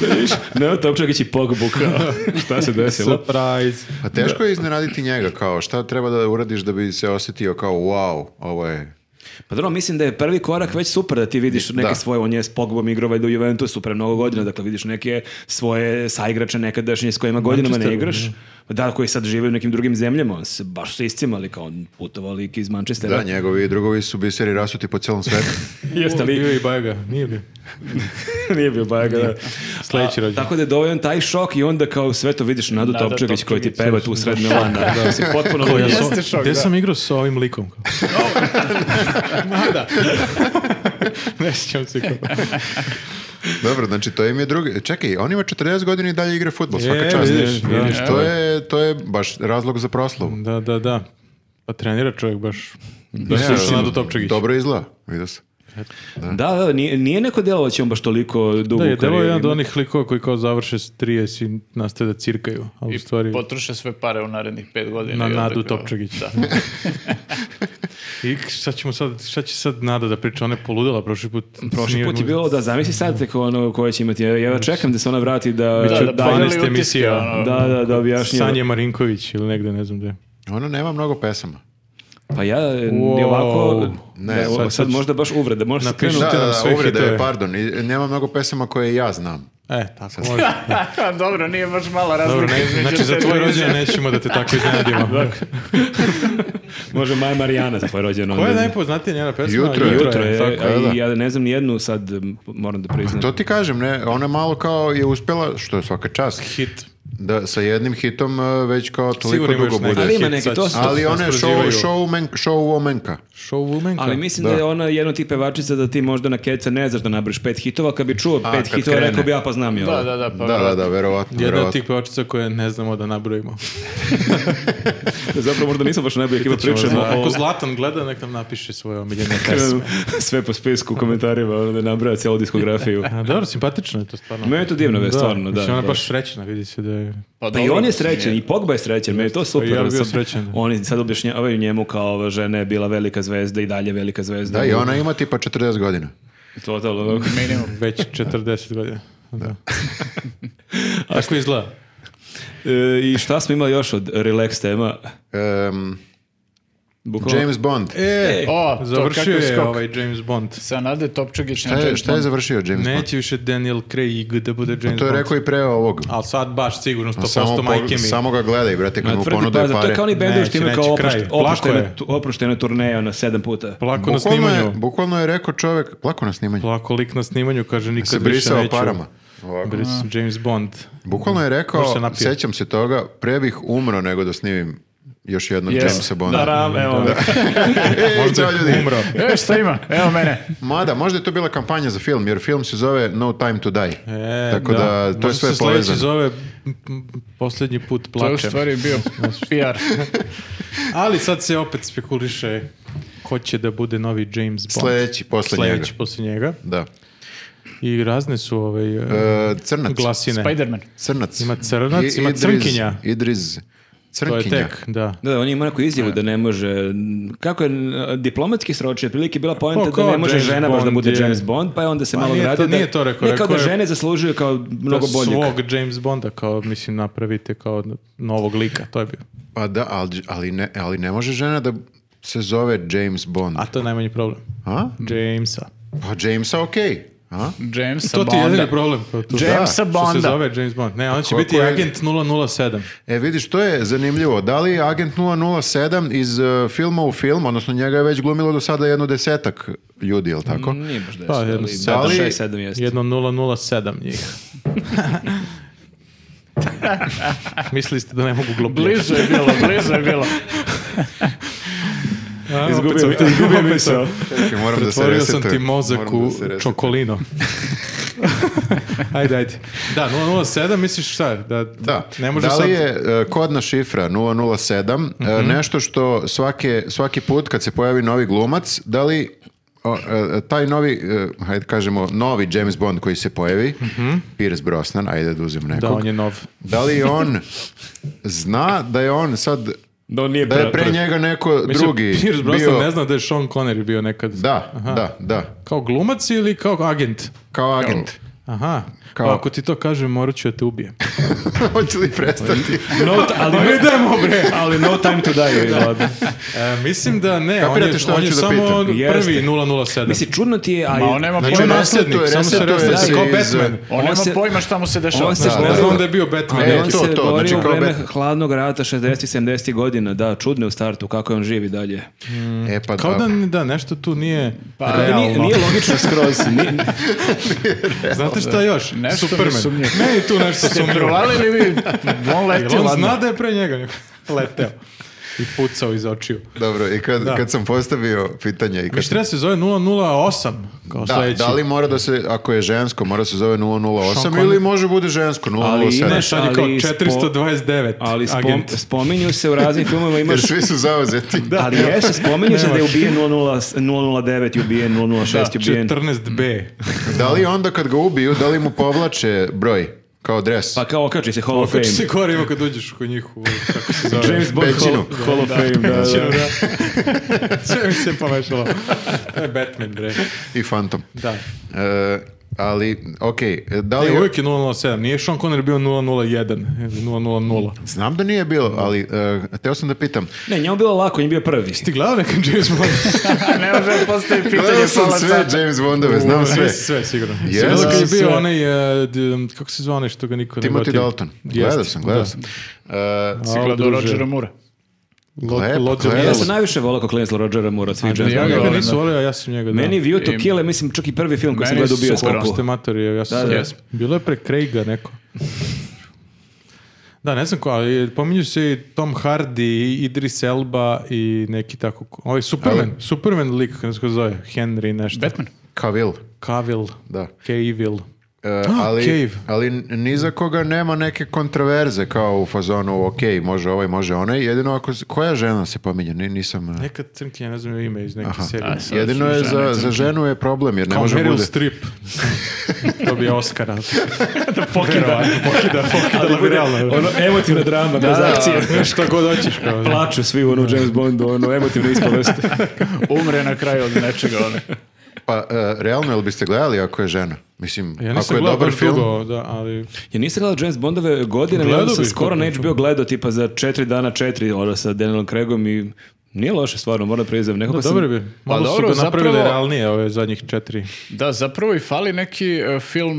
da vidiš. Ne, Topčagić i Pogbu, kao, šta se desilo?
Surprise.
Pa teško je iznenaditi njega, kao šta treba da uradiš da bi se osjetio kao wow, ovo je...
Pa dobro, mislim da je prvi korak već super da ti vidiš neke
Da.
svoje, on je s Pogbom igrao valjda u Juventusu pre mnogo godina, dakle vidiš neke svoje saigrače nekadašnje s kojima godinama ne
Manchesteru,
igraš. Pa Da, koji sad žive u nekim drugim zemljama, on se baš se iscimali kao on putovao lik iz Manchestera.
Da, njegovi drugovi su biseri rasuti po celom (laughs) svetu.
Jeste
Bio
li?
je i Bajega, nije bio.
(laughs) Nije bio Bajaga, da.
Sljedeći
A,
rođendan.
Tako da je dovoljan taj šok i onda kao sve to vidiš Nadu
Nada
Topčagić koji ti
Topčagić.
peva tu sred Milana. Da, mislim, potpuno
Ja
ludilo.
sam-
Jeste šok,
Gdje
da.
sam igrao sa ovim likom? Nada. ne sjećam se kako.
Dobro, znači to im je drugi... Čekaj, on ima 40 godina i dalje igra futbol, svaka
Je,
čast.
vidiš, da.
Vidiš, to, je, to je baš razlog za proslavu.
Da, da, da. Pa trenira čovjek baš. Da,
Ne,
slušao Nadu Topčagić.
Dobro izgleda, vidio sam.
Da, da, nije, nije neko djelovao da će on baš toliko dugo
Da, je
u karijeri
delo jedan od
imati.
onih likova koji kao završe s 30 i nastave da cirkaju, ali u stvari
Potroše sve pare u narednih pet godina.
na
i onda
Nadu
kao-
Topčagić. Znači,
Da.
I šta, ćemo sad, šta će sad Nada da priča? Ona je poludela prošli put.
Prošli
Nije
put je
mu-
bilo da zamisli sad tako ono koje će imati. Ja, ja čekam da se ona vrati da
Biće
da,
će
da, pa-
da,
12
paneli
emisija.
utiska, ono.
da, da, da objašnjava.
Sanje Marinković ili negde, ne znam gde.
Ona Ono nema mnogo pesama.
Pa ja
Wow.
wow. ovako
Ne,
ne, evo,
sad-
sad,
sad-
možda baš uvreda, možda se krenu.
Napiši-
Da,
Te
da,
nam
da,
sve
uvreda
hitove.
je, pardon. i- Nema mnogo pesama koje ja znam.
E, tako može.
Dobro, nije baš mala razlika.
ono. Dobro, ne, Dakle.
između
znači za
te
tvoj
dvije.
rođendan nećemo da te tako (laughs) iznenadimo.
Može Maja Marijana za tvoje rođeno.
Koja je
ne znam.
najpoznatija njena pesma?
Jutro je.
Jutro je,
tako.
a i
da.
ja ne znam ni jednu sad, m, moram da priznam.
To ti kažem, ne, ona malo kao je uspjela, što je svaka čast,
Hit.
da sa jednim hitom e, već kao toliko
Sigurno
dugo
imaš neki
bude.
Ali ima
hit,
neki,
sad
to
će
su-
se
Ali ona je show,
raspraživaju.
showman, showwomanka.
Showwomanka.
Ali mislim
Da.
da. je ona jedna od tih pevačica da ti možda na keca ne znaš da nabriš pet hitova, kad bi čuo
A,
pet
kad
hitova
krene.
rekao bi ja pa znam je ovo.
Da, da, da, pa
Da, da, da, verovatno,
Jedna od
verovatno.
tih pevačica koje ne znamo da nabrojimo.
Zapravo možda nisam baš najbolji ekipa pričamo
Za- Ako
o
Zlatan gleda, nek nam napiše svoje
(laughs)
omiljene pesme.
krenu sve po spisku u komentarima, ono da nabraja cijelu diskografiju.
A dobro, simpatično je to stvarno.
Meni je to divno, da, stvarno, da.
Mislim, ona
da.
je baš srećna, vidi se da je...
Pa i
dobro,
on je
mislim,
srećen, i Pogba je srećen, meni je to super.
pa ja bi bio
Sad-
srećan.
Oni sad objašnjavaju njemu kao ova žena je bila velika zvezda i dalje velika zvezda.
Da, i ona ima tipa 40 godina.
Totalno. ono.
Minimum.
Već
(laughs)
40 godina. (laughs) Da. Tako izgleda.
E, I šta smo imali još od relax tema?
Em,
Bukvalno-
James Bond.
E,
O, to
završio
kakav
je
skok.
ovaj James Bond.
Sa Nade Topčagić
Šta
na
je,
James
šta je
Bond.
završio James Bond?
Neće više Daniel Craig da bude James
Pa To je
Bond.
rekao i pre ovog.
Ali sad baš sigurno 100%
Samo,
majke mi.
po, samo ga gledaj, brate,
Ma,
kad mu
pa tvrdi
ponude
paza, To je
pare.
kao oni bendovi
Neće,
što imaju kao
neće, kraj.
oprošte-
Plako je.
oproštene, tu- oproštene turneje na sedam puta.
Plako na
Bukvalno je,
snimanju.
bukvalno je rekao čovjek, lako na snimanju.
Plako lik na snimanju, kaže nikad
Se
više
brisao
neću.
parama. Ovako.
Bris- James Bond.
Bukvalno je
Baš se
rekao,
napio.
sjećam se toga, pre bih umro nego da snimim još jednog
Yes.
Jamesa Bonda.
Taram, evo.
Ej,
Možda
ćao, ljudi.
je umro.
(laughs) E, šta ima? Evo
(laughs)
mene.
Mada, možda je to bila kampanja za film, jer film se zove No Time to Die.
E,
Tako da, to je
Možda
sve
se sljedeći
povezano.
zove m, m, posljednji put
To je u
plačem.
stvari
(laughs)
bio PR.
Ali sad se opet spekuliše ko će da bude novi James Bond.
Sljedeći, posle
Sljedeći
njega.
posle njega.
Da.
I razne su ovaj, e,
E, crnac.
glasine.
Spider-Man.
Crnac.
Ima crnac, ima
Idris-
crnkinja.
Idris.
To
Crnkinja.
je tek, da.
Da, on ima neku izjavu da ne može, kako je n- diplomatski sročio, prilike bila
Pa,
poenta
kao
da ne može
James
žena baš da
Bond
bude
je-
James Bond, pa je onda se
Pa
malo
nije to-
vratio. da-
nije to rekao,
Ne, kao
rekao
da
je-
žene zaslužuju kao mnogo
da
boljeg.
svog James Bonda kao, mislim, napravite kao novog lika, to je bio.
Pa da, ali, ali, ne, ali ne može žena da se zove James Bond.
A to je najmanji problem.
A?
Jamesa.
Pa Jamesa okej. A?
Jamesa
To ti je
Bonda.
jedini problem. kao tu.
Jamesa
Što se
Bonda.
zove James Bond. Ne, on će
Kako
biti
je-
agent 007.
E vidiš, to je zanimljivo. Da li je Agent 007 iz e, filma u film, odnosno njega je već glumilo do sada jedno desetak ljudi, je li tako?
Nije baš deset,
Pa, jedno
ali
sedam,
sedam,
ali- (laughs)
šest, sedam jeste.
Jedno 007 njih. Mislili ste da ne mogu globirati.
Blizu je bilo, blizu je
(laughs)
bilo.
A, opet
Izgubio
sam
mi-
te-
izgubio
(laughs) opet
misao.
sam-
Čekaj, moram da se
Pretvorio sam ti
resetujem.
mozak
Moram
u
da se resetujem.
čokolino. (laughs) ajde, ajde. Da, 007, misliš šta? Da,
Da.
Ne može
da
sad... Mhm.
li je e, kodna šifra 007 e, nešto što svake, svaki put kad se pojavi novi glumac, da li o, e, taj novi, e, hajde kažemo, novi James Bond koji se pojavi, Pierce Brosnan, ajde da uzem nekog,
Mhm. Da,
da,
on je nov.
li on zna da je on sad,
Da on nije
da je pre njega neko
Mislim,
drugi
Pierce Brosnan
bio...
ne zna da je Sean Connery bio nekad.
Da, da, da,
Kao glumac ili kao agent?
kao agent.
Aha.
Kao-
Pa ako ti to kažem, morat ću da te ubijem.
(laughs) Hoće li prestati?
No, t- ali
Pa idemo, bre.
(laughs) Ali no time to die. da.
(laughs) E, mislim da ne,
Kapirate
on je,
šta
on
hoću
je
da
samo
pitam?
Jeste.
prvi 007.
Mislim, čudno ti je, a
Ma on nema
Znači, on
pojma,
je
resetuje-
nasljednik, samo se
resetuje
resetuje,
se
kao
iz-
Batman.
on,
on
nema
se-
pojma šta mu se dešava.
on se
Da.
želi-
Ne znam da je bio Batman.
E,
neki.
on
to,
se
to,
borio
znači
u
kao
vreme
Batman.
hladnog rata 60 70 godina, da, čudno je u startu kako je on živi dalje.
E pa
Mhm. Kao da,
da.
da, nešto tu nije
Pa,
realno.
Nije, nije logično skroz. ni-
Znate šta još?
Nešto mi
Superman.
sumnjivo.
Ne, i tu nešto sumnjivo.
Provalili li vi? On leti,
Jel on
ladno.
zna da je pre njega (laughs) neko leteo i pucao iz očiju.
Dobro, i kad,
Da.
kad sam postavio pitanje i kad
Mislim, treba se zove 008 kao
Da,
sledeći.
da li mora da se, ako je žensko, mora se zove 008
Sean Connery.
ili može bude žensko 007?
Ali imaš-
Sad je kao
Ali spo-
429
Ali spom-
agent.
spominju se u raznim filmovima
Jer
imaš
svi su zauzeti.
Ali jeste, spominje se da je
Nemaš.
ubijen 00 009 i ubijen 006 i ubijen.
14B.
Da li onda kad ga ubiju, da li mu povlače broj kao dres?
Pa kao okači se Hall of
Kako
Fame.
se korimo kad uđeš kod njih u... Kako se zove?
James Bond Hall,
Pećinu.
Hall of Fame, da, da.
Pećinu, da. Sve mi se (laughs) pomešalo. To je Batman, bre.
I fantom.
Da.
E, ali, okej, da
Ne,
li...
uvijek je 007. Nije Sean Connery bio 001. 000.
Znam da nije bilo, ali e, teo sam da pitam.
Ne, njemu bilo lako, on je bio prvi.
Ti gledao nekad James Bond?
Ne može da postoji pitanje
Gledao sam
pola
sve
sata.
James Bondove, znam sve.
Sve, sve sigurno.
Jesam.
Yes. kad je bio
Sve.
onaj, e, d- kako se zvao onaj što ga niko ne
Timothy
gotio?
Dalton.
Jeste,
Gledao sam, gledao
da.
sam. E,
Si
Malo
gledao
druže.
Rodgera Moore.
Lo-
Lep,
Lodzio-
gledao.
Ja
Jesam.
sam najviše volao kako Clancy Rodgera Moore od svih James
ja
Ja
Bondova.
ga
Dobro,
nisam
da.
volio, a ja sam njega da.
Meni View to
I-
Kill je, mislim, čak i prvi film koji sam
Meni
gledao u
su
bioskopu. (laughs)
Ste matori, ja sam
Da, da.
jesam. Bilo je pre Craiga neko. Da, ne znam ko, ali pominju se i Tom Hardy, i Idris Elba i neki tako... ko- Ovaj Superman, Superman lik, kako se ga zove, Henry nešto.
Batman.
Cavill,
Cavill.
da.
Cavill.
E,
Ah,
ali,
Cave.
ali ni za koga nema neke kontraverze kao u fazonu ok, može ovaj, može onaj. Jedino ako... s- Koja žena se pominje? Ni- Nisam... e,
Neka crnkinja, ne znam joj ime iz neke serije.
a, sad
Jedino
su
je za,
žene
za ženu je problem jer ne
Kao
može
Meryl
bude.
Streep. to bi Oscara.
Pokida.
Pokida, pokidala bi realno.
Ono, emotivna drama, bez akcije.
Šta god hoćeš. Kao, da.
Plaču svi ono u James Bondu, ono, emotivne
(laughs)
ispovesti.
Umre na kraju od nečega. ono.
Pa e, realno jel biste gledali ako je žena? Mislim,
Ja
ako
nisam
je
gledao
dobar
baš
film,
dugo, da, ali...
Ja nisam gledao James Bondove godine,
Gledao
ali sam
bih,
skoro na
kako
HBO gledao tipa za četiri dana četiri, ono sa Danielom Craigom i nije loše stvarno, moram priznam. Nekako sam-
Dobro bi.
Pa
Malo su
dobro,
ga napravili
zapravo-
realnije ove zadnjih četiri.
Da, zapravo i fali neki e, film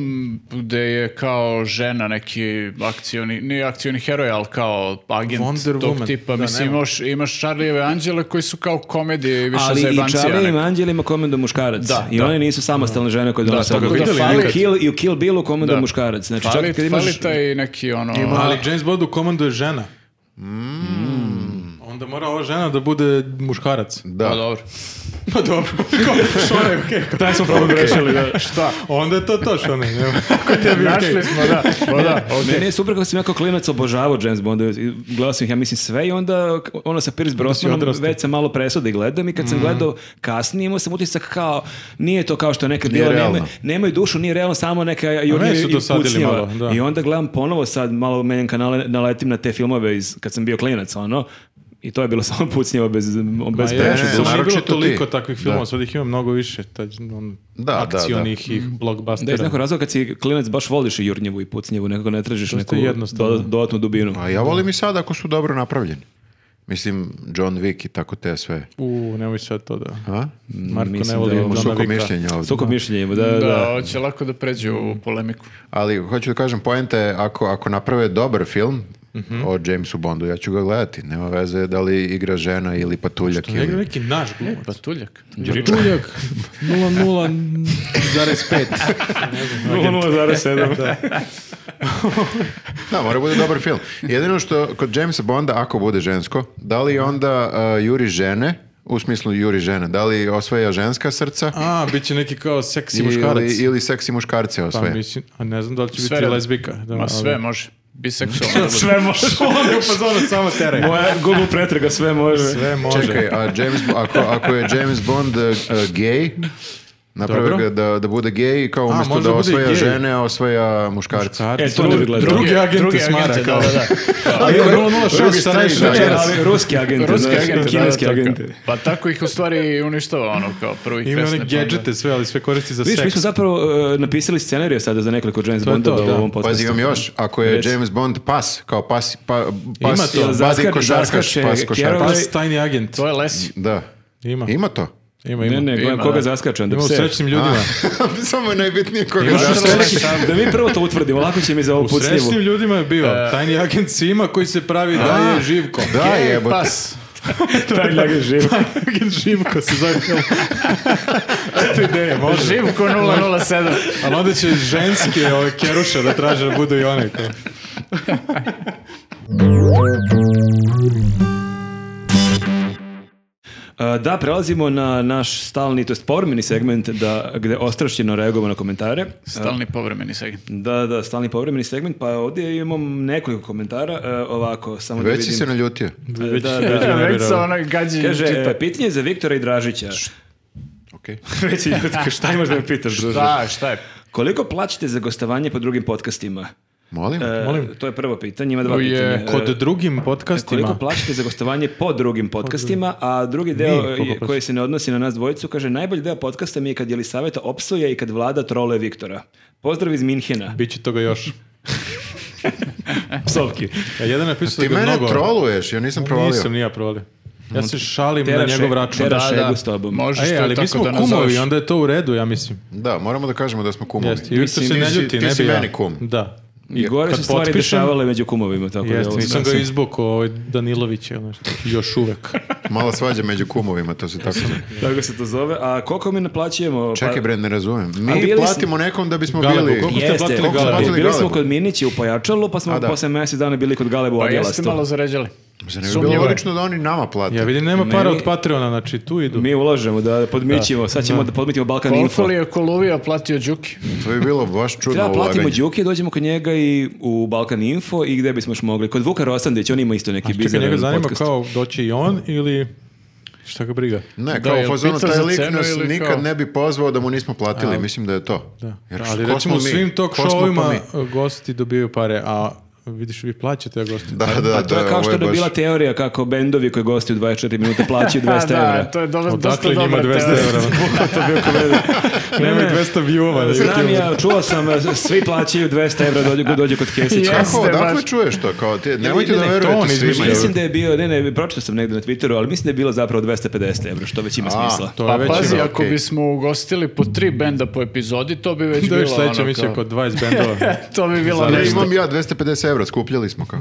gde je kao žena neki akcioni, nije akcioni heroj, ali kao agent
Wonder
tog
Woman.
tipa.
Da,
Mislim,
nema.
imaš, imaš Charlijeve anđele koji su kao komedije i više
ali
za
i
jebancija.
Charlie
neka.
Anđelima komando muškarac.
Da,
I
da.
one nisu samostalne žene koje donose
tako
odluke.
da
I
fali-
u Kill, I u Kill Billu komando
Da.
muškarac. Znači,
Fali,
čak kad imaš...
fali taj neki ono...
Ali James Bond u komandu je žena.
Mm.
Onda mora ova žena da bude muškarac.
da.
Pa dobro.
(laughs) Pa dobro. Ko- Šone,
(laughs)
okej. pa
Taj smo problem grešili,
Šta? Onda je to to šone.
(laughs)
nema. Kod tebi, okej.
Našli smo, da.
(laughs)
Pa da, okej.
Meni je super kako sam ja kao klinac obožavao James Bond. Gledao sam ih, ja mislim, sve i onda k- ono sa Pierce Brosnanom
odrastao. Mhm.
već sam malo presao da ih gledam i kad sam gledao kasnije imao sam utisak kao nije to kao što je nekad
Nije
bilo.
realno.
Nema, nemaju dušu, nije realno, samo neka jurnija
meni su
i
dosadili
pucnjava.
malo, da.
I onda gledam ponovo sad, malo menjam kanale, naletim na te filmove iz, kad sam bio klinac, ono. I to je bilo (laughs) samo pucnjava bez, bez
Ma
je,
je,
preče.
ne,
samo nije
naročito
bilo
ti.
toliko takvih filmova,
Da.
sad ih ima mnogo više. Taj, on,
Da, da, da.
akcionih i
Mm.
Da, iz
blockbustera.
nekog razloga kad si klinac baš voliš i jurnjevu i pucnjevu, nekako ne tražiš neku
Dosta jednostavno.
doda- dodatnu dubinu.
A Pa ja volim i sad ako su dobro napravljeni. Mislim, John Wick i tako te sve.
U, nemoj sad to da...
A?
Marko
mislim
ne voli
da je ovo
John
Suko
Wicka.
mišljenja ovdje.
Sukob mišljenja ima, da, da.
Da, hoće lako da pređe u polemiku.
Ali hoću da kažem, poenta je ako, ako naprave dobar film
Mhm.
o Jamesu Bondu, ja ću ga gledati. Nema veze da li igra žena ili patuljak.
Ne,
Ili...
neki naš glumac.
Patuljak.
Tuljak (laughs) 0,0,5.
0,07.
Da.
Da, mora bude dobar film. Jedino što kod Jamesa Bonda, ako bude žensko, da li onda uh, juri žene, u smislu juri žene, da li osvaja ženska srca
A, bit će neki kao seksi muškarac.
ili, ili seksi muškarce
Pa
osvaja?
mislim, a ne znam da li će
Sve
biti
radi.
lezbika. Da,
Ma sve
ali-
može.
(laughs)
Biseksualno.
sve može.
Ono, pa zove, samo teraj.
Moja Google pretraga sve može.
Sve može.
Čekaj, a James, Bo- ako, ako je James Bond uh, uh, gay, naprave
Dobro.
ga da, da bude gay, kao umjesto
može
da
da bude
osvaja
gay.
žene, a osvaja muškarce.
E, to ne bi gledao.
Drugi agent
Drugi
iz Mara,
agente,
kao.
da, da, da.
Ali ono,
Drugi-
006
drugi
šta
strani
radiš
da je.
večeras?
ali ruski agenti,
Ruski
znaš,
agente,
kineski
da, tako.
agenti.
Pa tako ih u stvari uništava ono kao prvih
Ima
pesne
one
fondove.
gadgete sve, ali sve koristi za
Vidiš, mi smo
seks.
zapravo e, napisali scenarije sada za nekoliko James
To je
Bonda
to,
u
da.
ovom podcastu.
Pazi, imam još. Ako je
Reci.
James Bond pas, kao pas, pa,
Ima
pas,
to.
pas,
Zaskače-
košarkaš,
zaskače
pas košarkaš.
Kjerov-
Pas tajni agent.
To je lesi.
Da.
Ima.
Ima to. (laughs)
Ima,
Ne,
ima.
ne, gledam
Ima,
koga
da.
zaskačem. Da,
Ima u
pse.
srećnim ljudima.
Samo je najbitnije koga
Imaš
zašto.
sreću.
da mi prvo to utvrdimo, lako će mi za ovu
U srećnim
pucljivu.
ljudima je bio.
E.
Tajni agent Sima koji se pravi da je Živko.
Da,
Ej,
jebote.
pas.
(laughs) Taj ljage živ.
(laughs) Agent Živko se zove film. Eto ideje, može. (laughs)
Živko 007.
Ali onda će ženske ove keruše da traže da budu i one. Kao.
A, E, Da, prelazimo na naš stalni, to jest povremeni segment da, gde ostrašćeno reagujemo na komentare.
Stalni povremeni segment.
Da, da, stalni povremeni segment, pa ovdje imam nekoliko komentara, e, ovako, samo da
Već si
vidim.
se naljutio.
E, da, da,
već-
da.
već
Već
sa
sa onoj gađi
Kaže, e, pitanje za Viktora i Dražića.
Okej.
Već je ljutko, šta imaš da me pitaš?
e,
Dražić?
Da, šta je?
Koliko plaćate za gostovanje po drugim podcastima?
Molim?
E,
Molim?
To je prvo pitanje, ima dva
Uje,
pitanja. E,
Kod drugim
Koliko
podcastima...
plaćate za gostovanje po drugim podcastima, a drugi deo
koliko
je-
plaćate?
koji se ne odnosi na nas dvojicu kaže najbolji deo podcasta mi je kad Jelisaveta opsuje i kad vlada trole Viktora. Pozdrav iz Minhena.
Biće toga još.
Psovki.
A jedan je napisao
Ti
da ga
mene
mnogo...
troluješ, ja nisam provalio.
Nisam, nije provalio. Ja se šalim na
Teraš
njegov
je-
račun.
teraš
Da,
je- šegu s tobom.
Pa Možeš
E,
to
ali mi
tako
smo
da
kumovi, ono,
nazoveš.
onda je to u redu, ja mislim.
Da, moramo da kažemo da smo kumovi.
Jeste, i Viktor
Ti
se ne
si-
ljuti,
Ti
ne
si
bi ja.
meni kum.
Da.
I gore
kad
su stvari
potpišem-
dešavale među kumovima. Tako da je
Jeste,
ovo
nisam ga
sasvim-
izbukao ovaj Danilović ili nešto. Još
(laughs)
uvek.
Mala svađa među kumovima, to se tako zove.
Tako se to zove. A koliko mi naplaćujemo? Pa-
Čekaj bre, ne razumem.
A
Mi
bili
platimo nekom da bismo
Galebu,
bili...
koliko ste
Jeste,
platili
koliko ste
Galebu?
platili? bili smo
Galebu.
kod Minića u Pojačalu, pa
A,
smo
da.
posle mjesec dana bili kod Galeba u
Pa jeste
Odjelastu.
malo zaređali.
Zar ne bi bilo
Sumnjivo je.
logično da oni nama plate?
Ja vidim, nema
Meni-
para od Patreona, znači tu idu.
Mi ulažemo da podmićimo, sad ćemo da, podmitimo Balkan
Koliko
Info.
li je Koluvija platio Đuki?
To bi bilo baš čudno
Treba platimo
ulaganje.
Đuki, dođemo kod njega i u Balkan Info i gdje bismo još mogli. Kod Vuka Rosandić, on ima isto neki
Čekaj,
bizaran
njega zanima
podcast.
kao doći i on ili šta ga briga.
Ne,
Da,
kao u
jel
fazonu,
pita
taj
za
lik
cenu
nas
ili
nikad
kao?
ne bi pozvao da mu nismo platili, mislim da je to.
Da.
Jer
Ali
ko
recimo u
smo mi?
svim talk
Ko smo pa
showima
mi?
gosti dobijaju pare, a vidiš vi plaćate a gosti.
Da, da,
Pa to je
da,
kao
ovo
što je
baš-
bila teorija kako bendovi koji gostuju 24 minuta
(laughs)
plaćaju 200
Pa da,
evra.
to je dobro, dosta
Odakle njima
dobra
200
teorija.
(laughs)
evra? Nemaju 200 view-ova na
Znam
YouTube.
ja, čuo sam, svi plaćaju 200 evra, dođe, dođe kod Kesića.
Yes.
Kako,
Jeste,
odakle
baš-
čuješ to? Kao, ti, nemojte
ne,
da
ne, to on
verujete
izmišlja.
svima.
Mislim da je bio, ne, ne, pročitao sam negdje na Twitteru, ali mislim da je bilo zapravo 250 evra, što već ima
A,
smisla.
To je
Pa
već
pazi,
ima.
ako
okej.
bismo ugostili po tri benda po epizodi, to bi već
Da
bilo
još sledeće
ono
mi će
kao...
kod 20 bendova.
(laughs) To bi bilo
Ne,
nešto.
imam ja 250 evra, skupljali smo kao.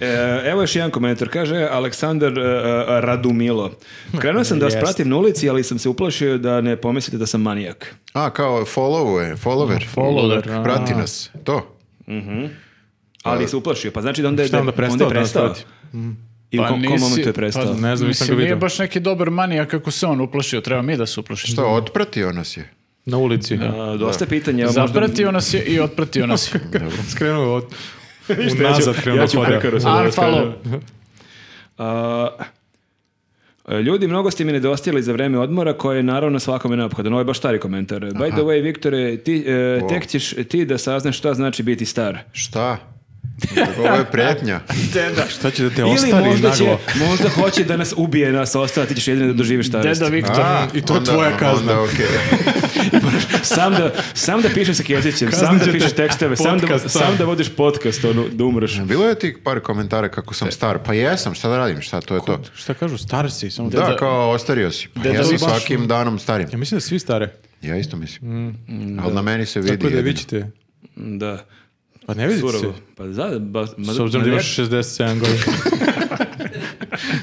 E, evo još jedan komentar. Kaže Aleksandar e, e, Radumilo. Krenuo sam da vas
Jest.
pratim na ulici, ali sam se uplašio da ne pomislite da sam manijak.
A, kao followuje, follower.
Follower, a.
Prati nas, to.
Ali se uplašio, pa znači da onda je,
Šta onda
da-
prestao
onda je
da nas
prestao.
prati?
I u
Pa
kom, kom
nisi- pa
momentu je prestao?
ne znam, nisam
mislim,
ga vidio.
Nije baš neki dobar manija kako se on uplašio, treba mi da se uplašimo.
Šta, otpratio nas je?
Na ulici.
A, dosta pitanja. evo, možda-
Zapratio nas je i otpratio nas je.
Skrenuo od... Unazad krenuo
ja ću
hoda.
prekaru sad da vas
Unfollow.
A, e, Uh, Ljudi, mnogo ste mi nedostajali za vreme odmora koje je naravno svakome neophodno. Ovo je baš stari komentar. By the way, Viktore, ti, e, tek ćeš ti da saznaš šta znači biti star.
Šta? Ovo je pretnja.
Deda.
Šta će da te
Ili
ostari
možda, će,
naglo?
možda hoće da nas ubije nas ostala, ti ćeš jedino da doživiš starost.
Deda Viktor.
I to je tvoja kazna.
Onda, okej.
sam da, sam da pišeš sa Kjezićem, sam
Kaznit
da
će
pišeš
te
tekstove, sam da,
podcast,
sam
sam.
da vodiš podcast, ono, da umreš.
Bilo je ti par komentara kako sam star. Pa jesam, šta da radim, šta, to je to.
Šta kažu, star si, samo
Da, kao ostario si. Pa
Deda
ja sam
baš-
svakim danom starim.
Ja mislim da svi stare.
Ja isto mislim. Ali na meni se vidi.
Tako da
jedino.
vi ćete.
Da.
Pa ne vidite se.
Surovo. Pa da, ba, ma,
S obzirom da
ma ne-
imaš 67 godina.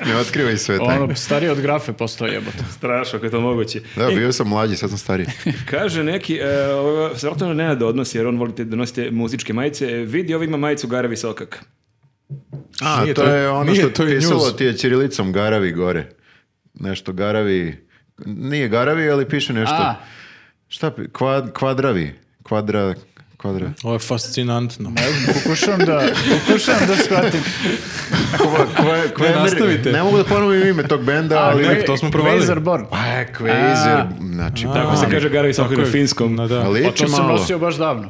Ne otkrivaj sve tajne.
Ono, starije od grafe postoje jebote.
Strašno, ako je to moguće.
Da, bio sam mlađi, sad sam stariji.
Kaže neki, e, ovo se vratno ne da odnosi, jer on volite da nosite muzičke majice. E, Vidi, ovo ima majicu Garavi Sokak.
A,
Nije
to,
to-
je ono
nije
što
to i
pisalo
news.
ti je Čirilicom Garavi gore. Nešto Garavi... Nije Garavi, ali piše nešto...
A.
Šta? pi- Kvad, kvadravi. Kvadra... Kvadra...
Ovo je fascinantno.
Ne znam, pokušavam (laughs) da, pokušavam da shvatim.
Kva, kva- kva-
nastavite.
Ne mogu da ponovim ime tog benda,
A,
ali...
ne, to smo provalili.
Quasar Born.
Pa je Quasar,
A.
znači...
Tako se
pa,
kaže Garavi Sokak
Tako
na
je.
finskom.
Na, da.
Pa
Pa
liči
to sam
malo.
nosio baš davno.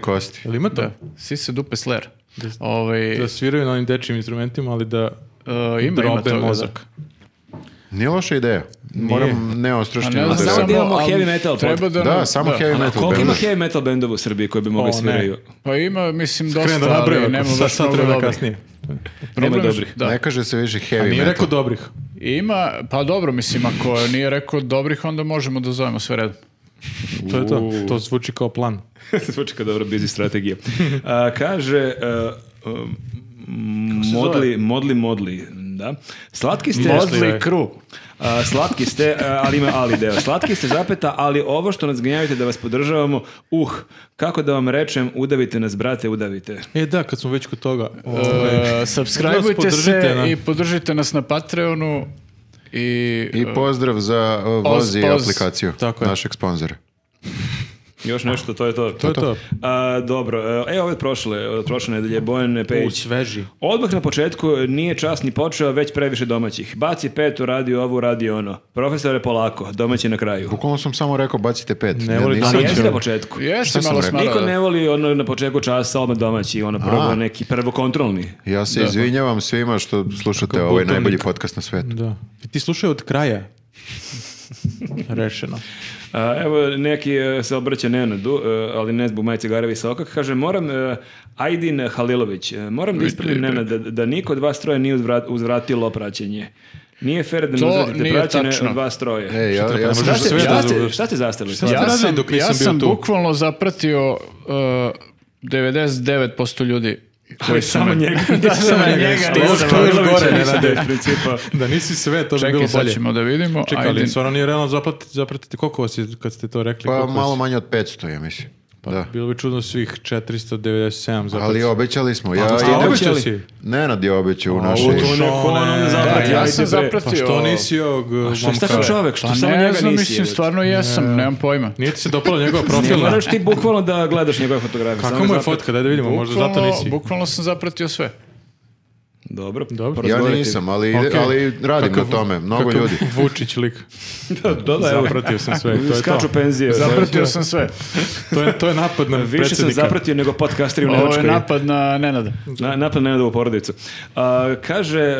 kosti.
Jel ima to?
Da, sise dupe sler. Ovaj,
Da sviraju na onim dečjim instrumentima, ali da
e, ima, ima
drobe
toga, da.
mozak.
Nije loša ideja. Moram
A
neostrošnije
ne
da
znam,
samo
reagujem.
da
samo,
imamo
ali
heavy metal
Treba da,
Da, samo heavy metal.
Koliko ima
bendova.
heavy metal bendova u Srbiji koji bi mogli
O, ne.
sviraju?
Pa ima, mislim, dosta,
Krenem da
ali
nabrajam,
nema
ako sad,
baš
sad
mnogo
treba
dobrih.
kasnije.
Nema
Problem je-
dobrih. (laughs)
Da.
Ne kaže se više heavy
A
metal.
nije rekao dobrih.
Ima, pa dobro, mislim, ako nije rekao dobrih, onda možemo da zovemo sve redom.
To je to. To zvuči kao plan.
Zvuči kao dobra biznis
(laughs)
strategija. A, kaže... a, um, modli, modli, modli, da. Slatki ste...
Modli
kru. slatki ste, a, ali ima ali deo. Slatki ste zapeta, ali ovo što nas gnjavite da vas podržavamo, uh, kako da vam rečem, udavite nas, brate, udavite.
E da, kad smo već kod toga.
E,
(laughs) ovaj, nas
subscribeujte
podržite,
se
na-
i podržite nas na Patreonu i,
I
e,
pozdrav za uh,
Oz,
Vozi
Oz.
aplikaciju
Tako je.
našeg sponzora.
Još nešto, to je Pa to.
To je to.
A, dobro, e, ovo je prošle, od prošle nedelje, Bojan Pejić.
U, sveži.
Odmah na početku nije čas ni počeo, već previše domaćih. Baci pet, uradi ovo, uradi ono. Profesore, polako, domaći na kraju.
Bukvalno sam samo rekao bacite pet.
Ne voli
nisam-
Ali
domaći.
jeste na početku.
e, jeste
Šta sam
malo
rekao?
smara.
Niko ne voli ono na početku časa odmah domaći, ono prvo
A.
neki prvo kontrolni.
Ja se izvinjavam svima što slušate
Kako
ovaj
butovnik.
najbolji podcast na svetu.
Da. Ti slušaj od
(laughs)
kraja. Rešeno.
A, evo neki e, se obraća Nenadu, e, ali ne zbog majice Garavi Sokak, kaže moram, e, Ajdin Halilović, e, moram da ispravim Nenada da, da niko od vas troje nije uzvra- uzvratilo praćenje. Nije fair da ne
To
uzvratite
nije
praćene
tačno.
od vas troje.
E, ja,
treba, ne
ja sam
možeš
šta,
sve
ste,
da
šta, ste,
završi.
šta ste zastali?
Šta ste
Ja
radili
sam,
dok
ja
nisam bio
sam
tu?
bukvalno zapratio e, 99% ljudi koji su
samo
me-
(laughs) njega.
da, samo njega.
To je
nisam
još
Halilovića
gore,
nisam.
Nenade.
iz principa.
Da nisi sve, to bi bilo
Čekaj, sad
bolje.
ćemo da vidimo.
Čekaj, ali
Ajde.
stvarno nije realno zapratiti, zapratiti koliko vas je, kad ste to rekli.
pa
koliko vas-
malo manje od 500, ja mislim. Da.
Bilo bi čudno svih 497 zapratiti.
Ali obećali smo. Ja
A
idem...
obećao
obećali?
si?
Nenad je obećao u našoj...
u to ne-
Neko ono ne
Da,
Da,
zaprati, Pa
ja
ajde
sam
bre.
Pa
zapratio...
što nisi ovog uh,
Što je
momka?
takav čovek, što
Pa
samo
ne
njega
znam,
nisi.
mislim,
jebote.
stvarno jesam, nemam pojma.
Nije ti se dopala
(laughs)
njegova
Ne
profilna?
moraš ti bukvalno da gledaš njegove fotografije.
Kako
samo
mu je
zapra-
fotka? Daj da vidimo, možda zato
Bukvalno-
nisi.
Bukvalno sam zapratio sve.
Dobro,
Dobro.
Ja
porazgovarajte.
nisam, ali, ide-
Okej.
ali radim na tome. Mnogo
Kakav
ljudi.
Vučić lik.
Da, da, da, evo.
Zapratio sam sve, to je to.
Skaču penzije.
Zapratio sam sve.
To je, to je napad na
Više sam
predsjednika.
zapratio nego podcasteri u
Ovo je
Nemačkoj.
napad na Nenada.
Na, napad na Nenadovu porodicu. A, kaže, e,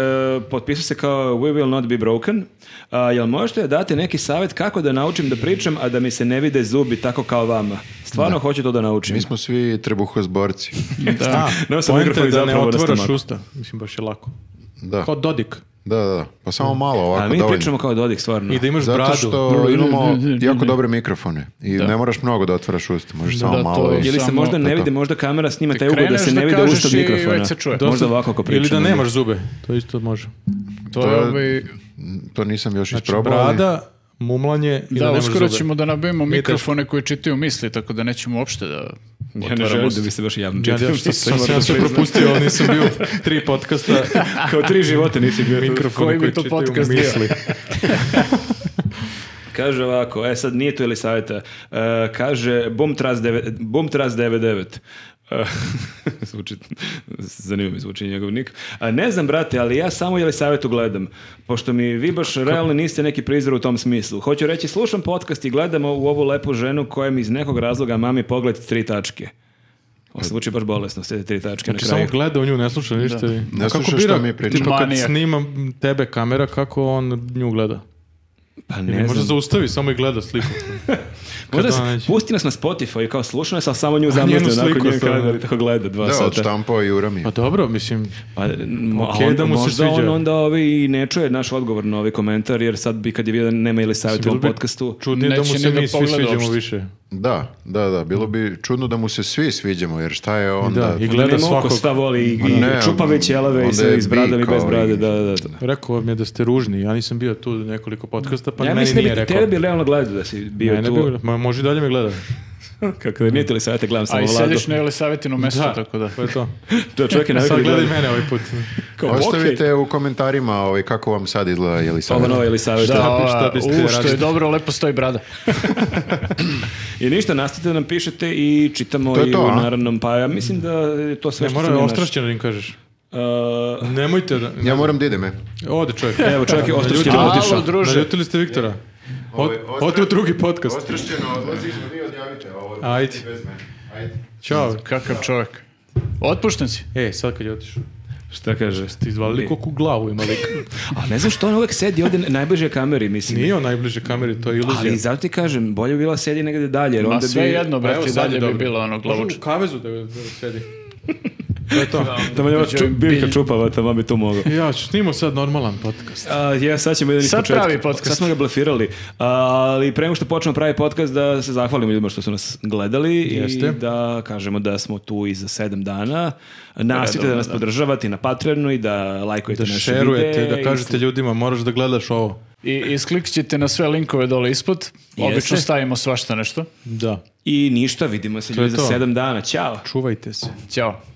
potpisao se kao We will not be broken. A, jel možete dati neki savjet kako da naučim da pričam, a da mi se ne vide zubi tako kao vama? Stvarno hoću to da naučim.
Mi smo svi trbuhozborci.
Da,
Nosio sam
poenta
mikrofon
je
i
da ne
zapravo na
otvaraš
stomak.
usta. Mislim, baš je lako.
Da,
Kao Dodik.
da, da. Pa samo malo
A
ovako
mi
dovoljno.
pričamo kao Dodik, stvarno.
I da imaš
Zato
bradu.
što imamo jako dobre mikrofone i ne moraš mnogo da otvaraš usta, možeš samo
to
malo.
je-
Ili se
Samo-
možda ne
to.
vidi, možda kamera snima taj ugao da
kreneš
se ne
da
vidi usta
kažeš
od
i
mikrofona.
već se čuje.
Možda
Dosta-
ovako ako pričam.
Ili da nemaš zube. To isto može.
Znači,
To je ovaj...
To nisam još
Znači,
isprobao. ali-
brada, mumlanje i da,
Da,
nemaš
uskoro
zube.
ćemo da nabavimo
Nije
mikrofone koji čitaju misli, tako da nećemo uopšte da...
Ja ne želim da bi se baš javno
Ja, ja,
čitao.
što sam sam ja sve
(laughs)
propustio, ali nisam bio (laughs) tri podcasta.
Kao tri života nisi bio.
Mikrofon
Koji bi to podcast bio?
misli.
Kaže ovako, e sad nije to ili savjeta. E, kaže Boomtras 9 Boomtras 99. E, (laughs) zvuči, zanima mi zvuči njegov nik. A ne znam, brate, ali ja samo jeli savjetu gledam. Pošto mi vi baš realno niste neki prizor u tom smislu. Hoću reći, slušam podcast i gledam u ovu lepu ženu koja mi iz nekog razloga mami pogled tri tačke. Ovo zvuči baš bolesno, sve te tri tačke
Znači
na kraju.
samo gleda u nju, ne sluša ništa. i-
Ne
A kako
sluša
bira,
šta mi pričamo.
Tipa kad
Manijak.
snima tebe kamera, kako on nju gleda?
Pa
Ili
ne
možda
znam.
zaustavi, samo i gleda sliku.
Možda
Kad
se-
ona nađe.
pusti nas na Spotify kao slušano je, ali samo nju
njenu
zamrzne onako
sliku
njen
stavlja.
kadar i tako gleda dva
Da,
sata.
odštampao i urami.
Pa dobro, mislim,
Pa, m, a
Okej,
on-
da mu se
možda on
sviđa.
onda ovi i ne čuje naš odgovor na ovaj komentar, jer sad bi kad je bio da nema ili savjet
Bilo
u
bi
podcastu,
čudnije da mu
Neće
se
ni da
mi svi
pogleda
sviđamo
uopšte.
više.
Da, da, da, bilo bi čudno da mu se svi sviđamo, jer šta je onda...
Da, i
da
gleda
nema oko
svakog. ono,
šta voli i,
Ma
i
ne,
čupave ćelave i
onda
sve
je
i s bradom i
bikao
bez brade,
i-
da, da, da.
Rekao vam je da ste ružni, ja nisam bio tu nekoliko podcasta, pa
ja
meni
mislim da
nije
bi
rekao.
tebe bi realno gledao da si bio
Mene
tu.
bi- ma, može i dalje me gleda.
(laughs) Kako da nije te li savjeta, gledam
A
samo
i
vladu.
sediš na Elisavetinu mestu, tako da.
To je
(laughs)
to.
To čovjek je
Sad
navikao da
gledaj
gleda.
mene ovaj
(laughs)
put.
Kao,
Ostavite
okej.
u komentarima ovaj, kako vam sad izgleda Jelisaveta.
Ova nova ili savjeta.
Da,
bi-
ova,
šta biste
u, što
radili?
je dobro, lepo stoji brada.
I ništa, nastavite da nam pišete i čitamo
To je
i
to,
u
a?
naravnom, pa ja mislim da je to sve
Ne,
što sam
mora
ja
ostrašćeno da im kažeš.
naš- Uh,
Nemojte da...
Ja moram da idem, e.
Ode čovjek.
Evo, čovjek je ostrašćen
Naljutili-
otišao.
Alo, druže.
Naljutili ste Viktora. Od, ode u drugi podcast.
Ostrašćeno odlazimo, vi odjavite ovo.
Ajde.
Bez mene. Ajde.
Ćao.
Kakav čovjek. Otpušten si.
E, sad kad je otišao.
Šta kaže?
Ti izvalili koliko glavu ima lik.
(laughs) A ne znam što on uvek sedi ovde najbliže kameri, mislim.
Nije on najbliže kameri, to je iluzija.
Ali zato ti kažem, bolje bi bila sjedi negde dalje, jer
Ma
onda
sve
bi...
jedno,
Pa evo,
brati,
sad je
dalje bi
dobro.
bilo ono
Može
glavuče.
u kavezu da ga da ga sedi. To je to.
Tamo je ova ču- biljka čupava, tamo bi to mogao.
Ja ću snimao sad normalan podcast.
A, ja, sad ćemo jedan iz
Sad
početka.
pravi podcast.
Sad smo ga blefirali. A, ali pre nego što počnemo pravi podcast, da se zahvalimo ljudima što su nas gledali
Jeste.
i da kažemo da smo tu i za sedam dana. Nastavite da nas podržavate i na Patreonu i da lajkujete
Da
naše
šerujete,
videe
da
i
kažete ljudima moraš da gledaš ovo.
I isklikit ćete na sve linkove dole ispod. Obično
Jeste.
stavimo svašta nešto.
Da.
I ništa, vidimo se
To je
ljudi za
to.
sedam dana. Ćao!
Čuvajte se.
Ćao.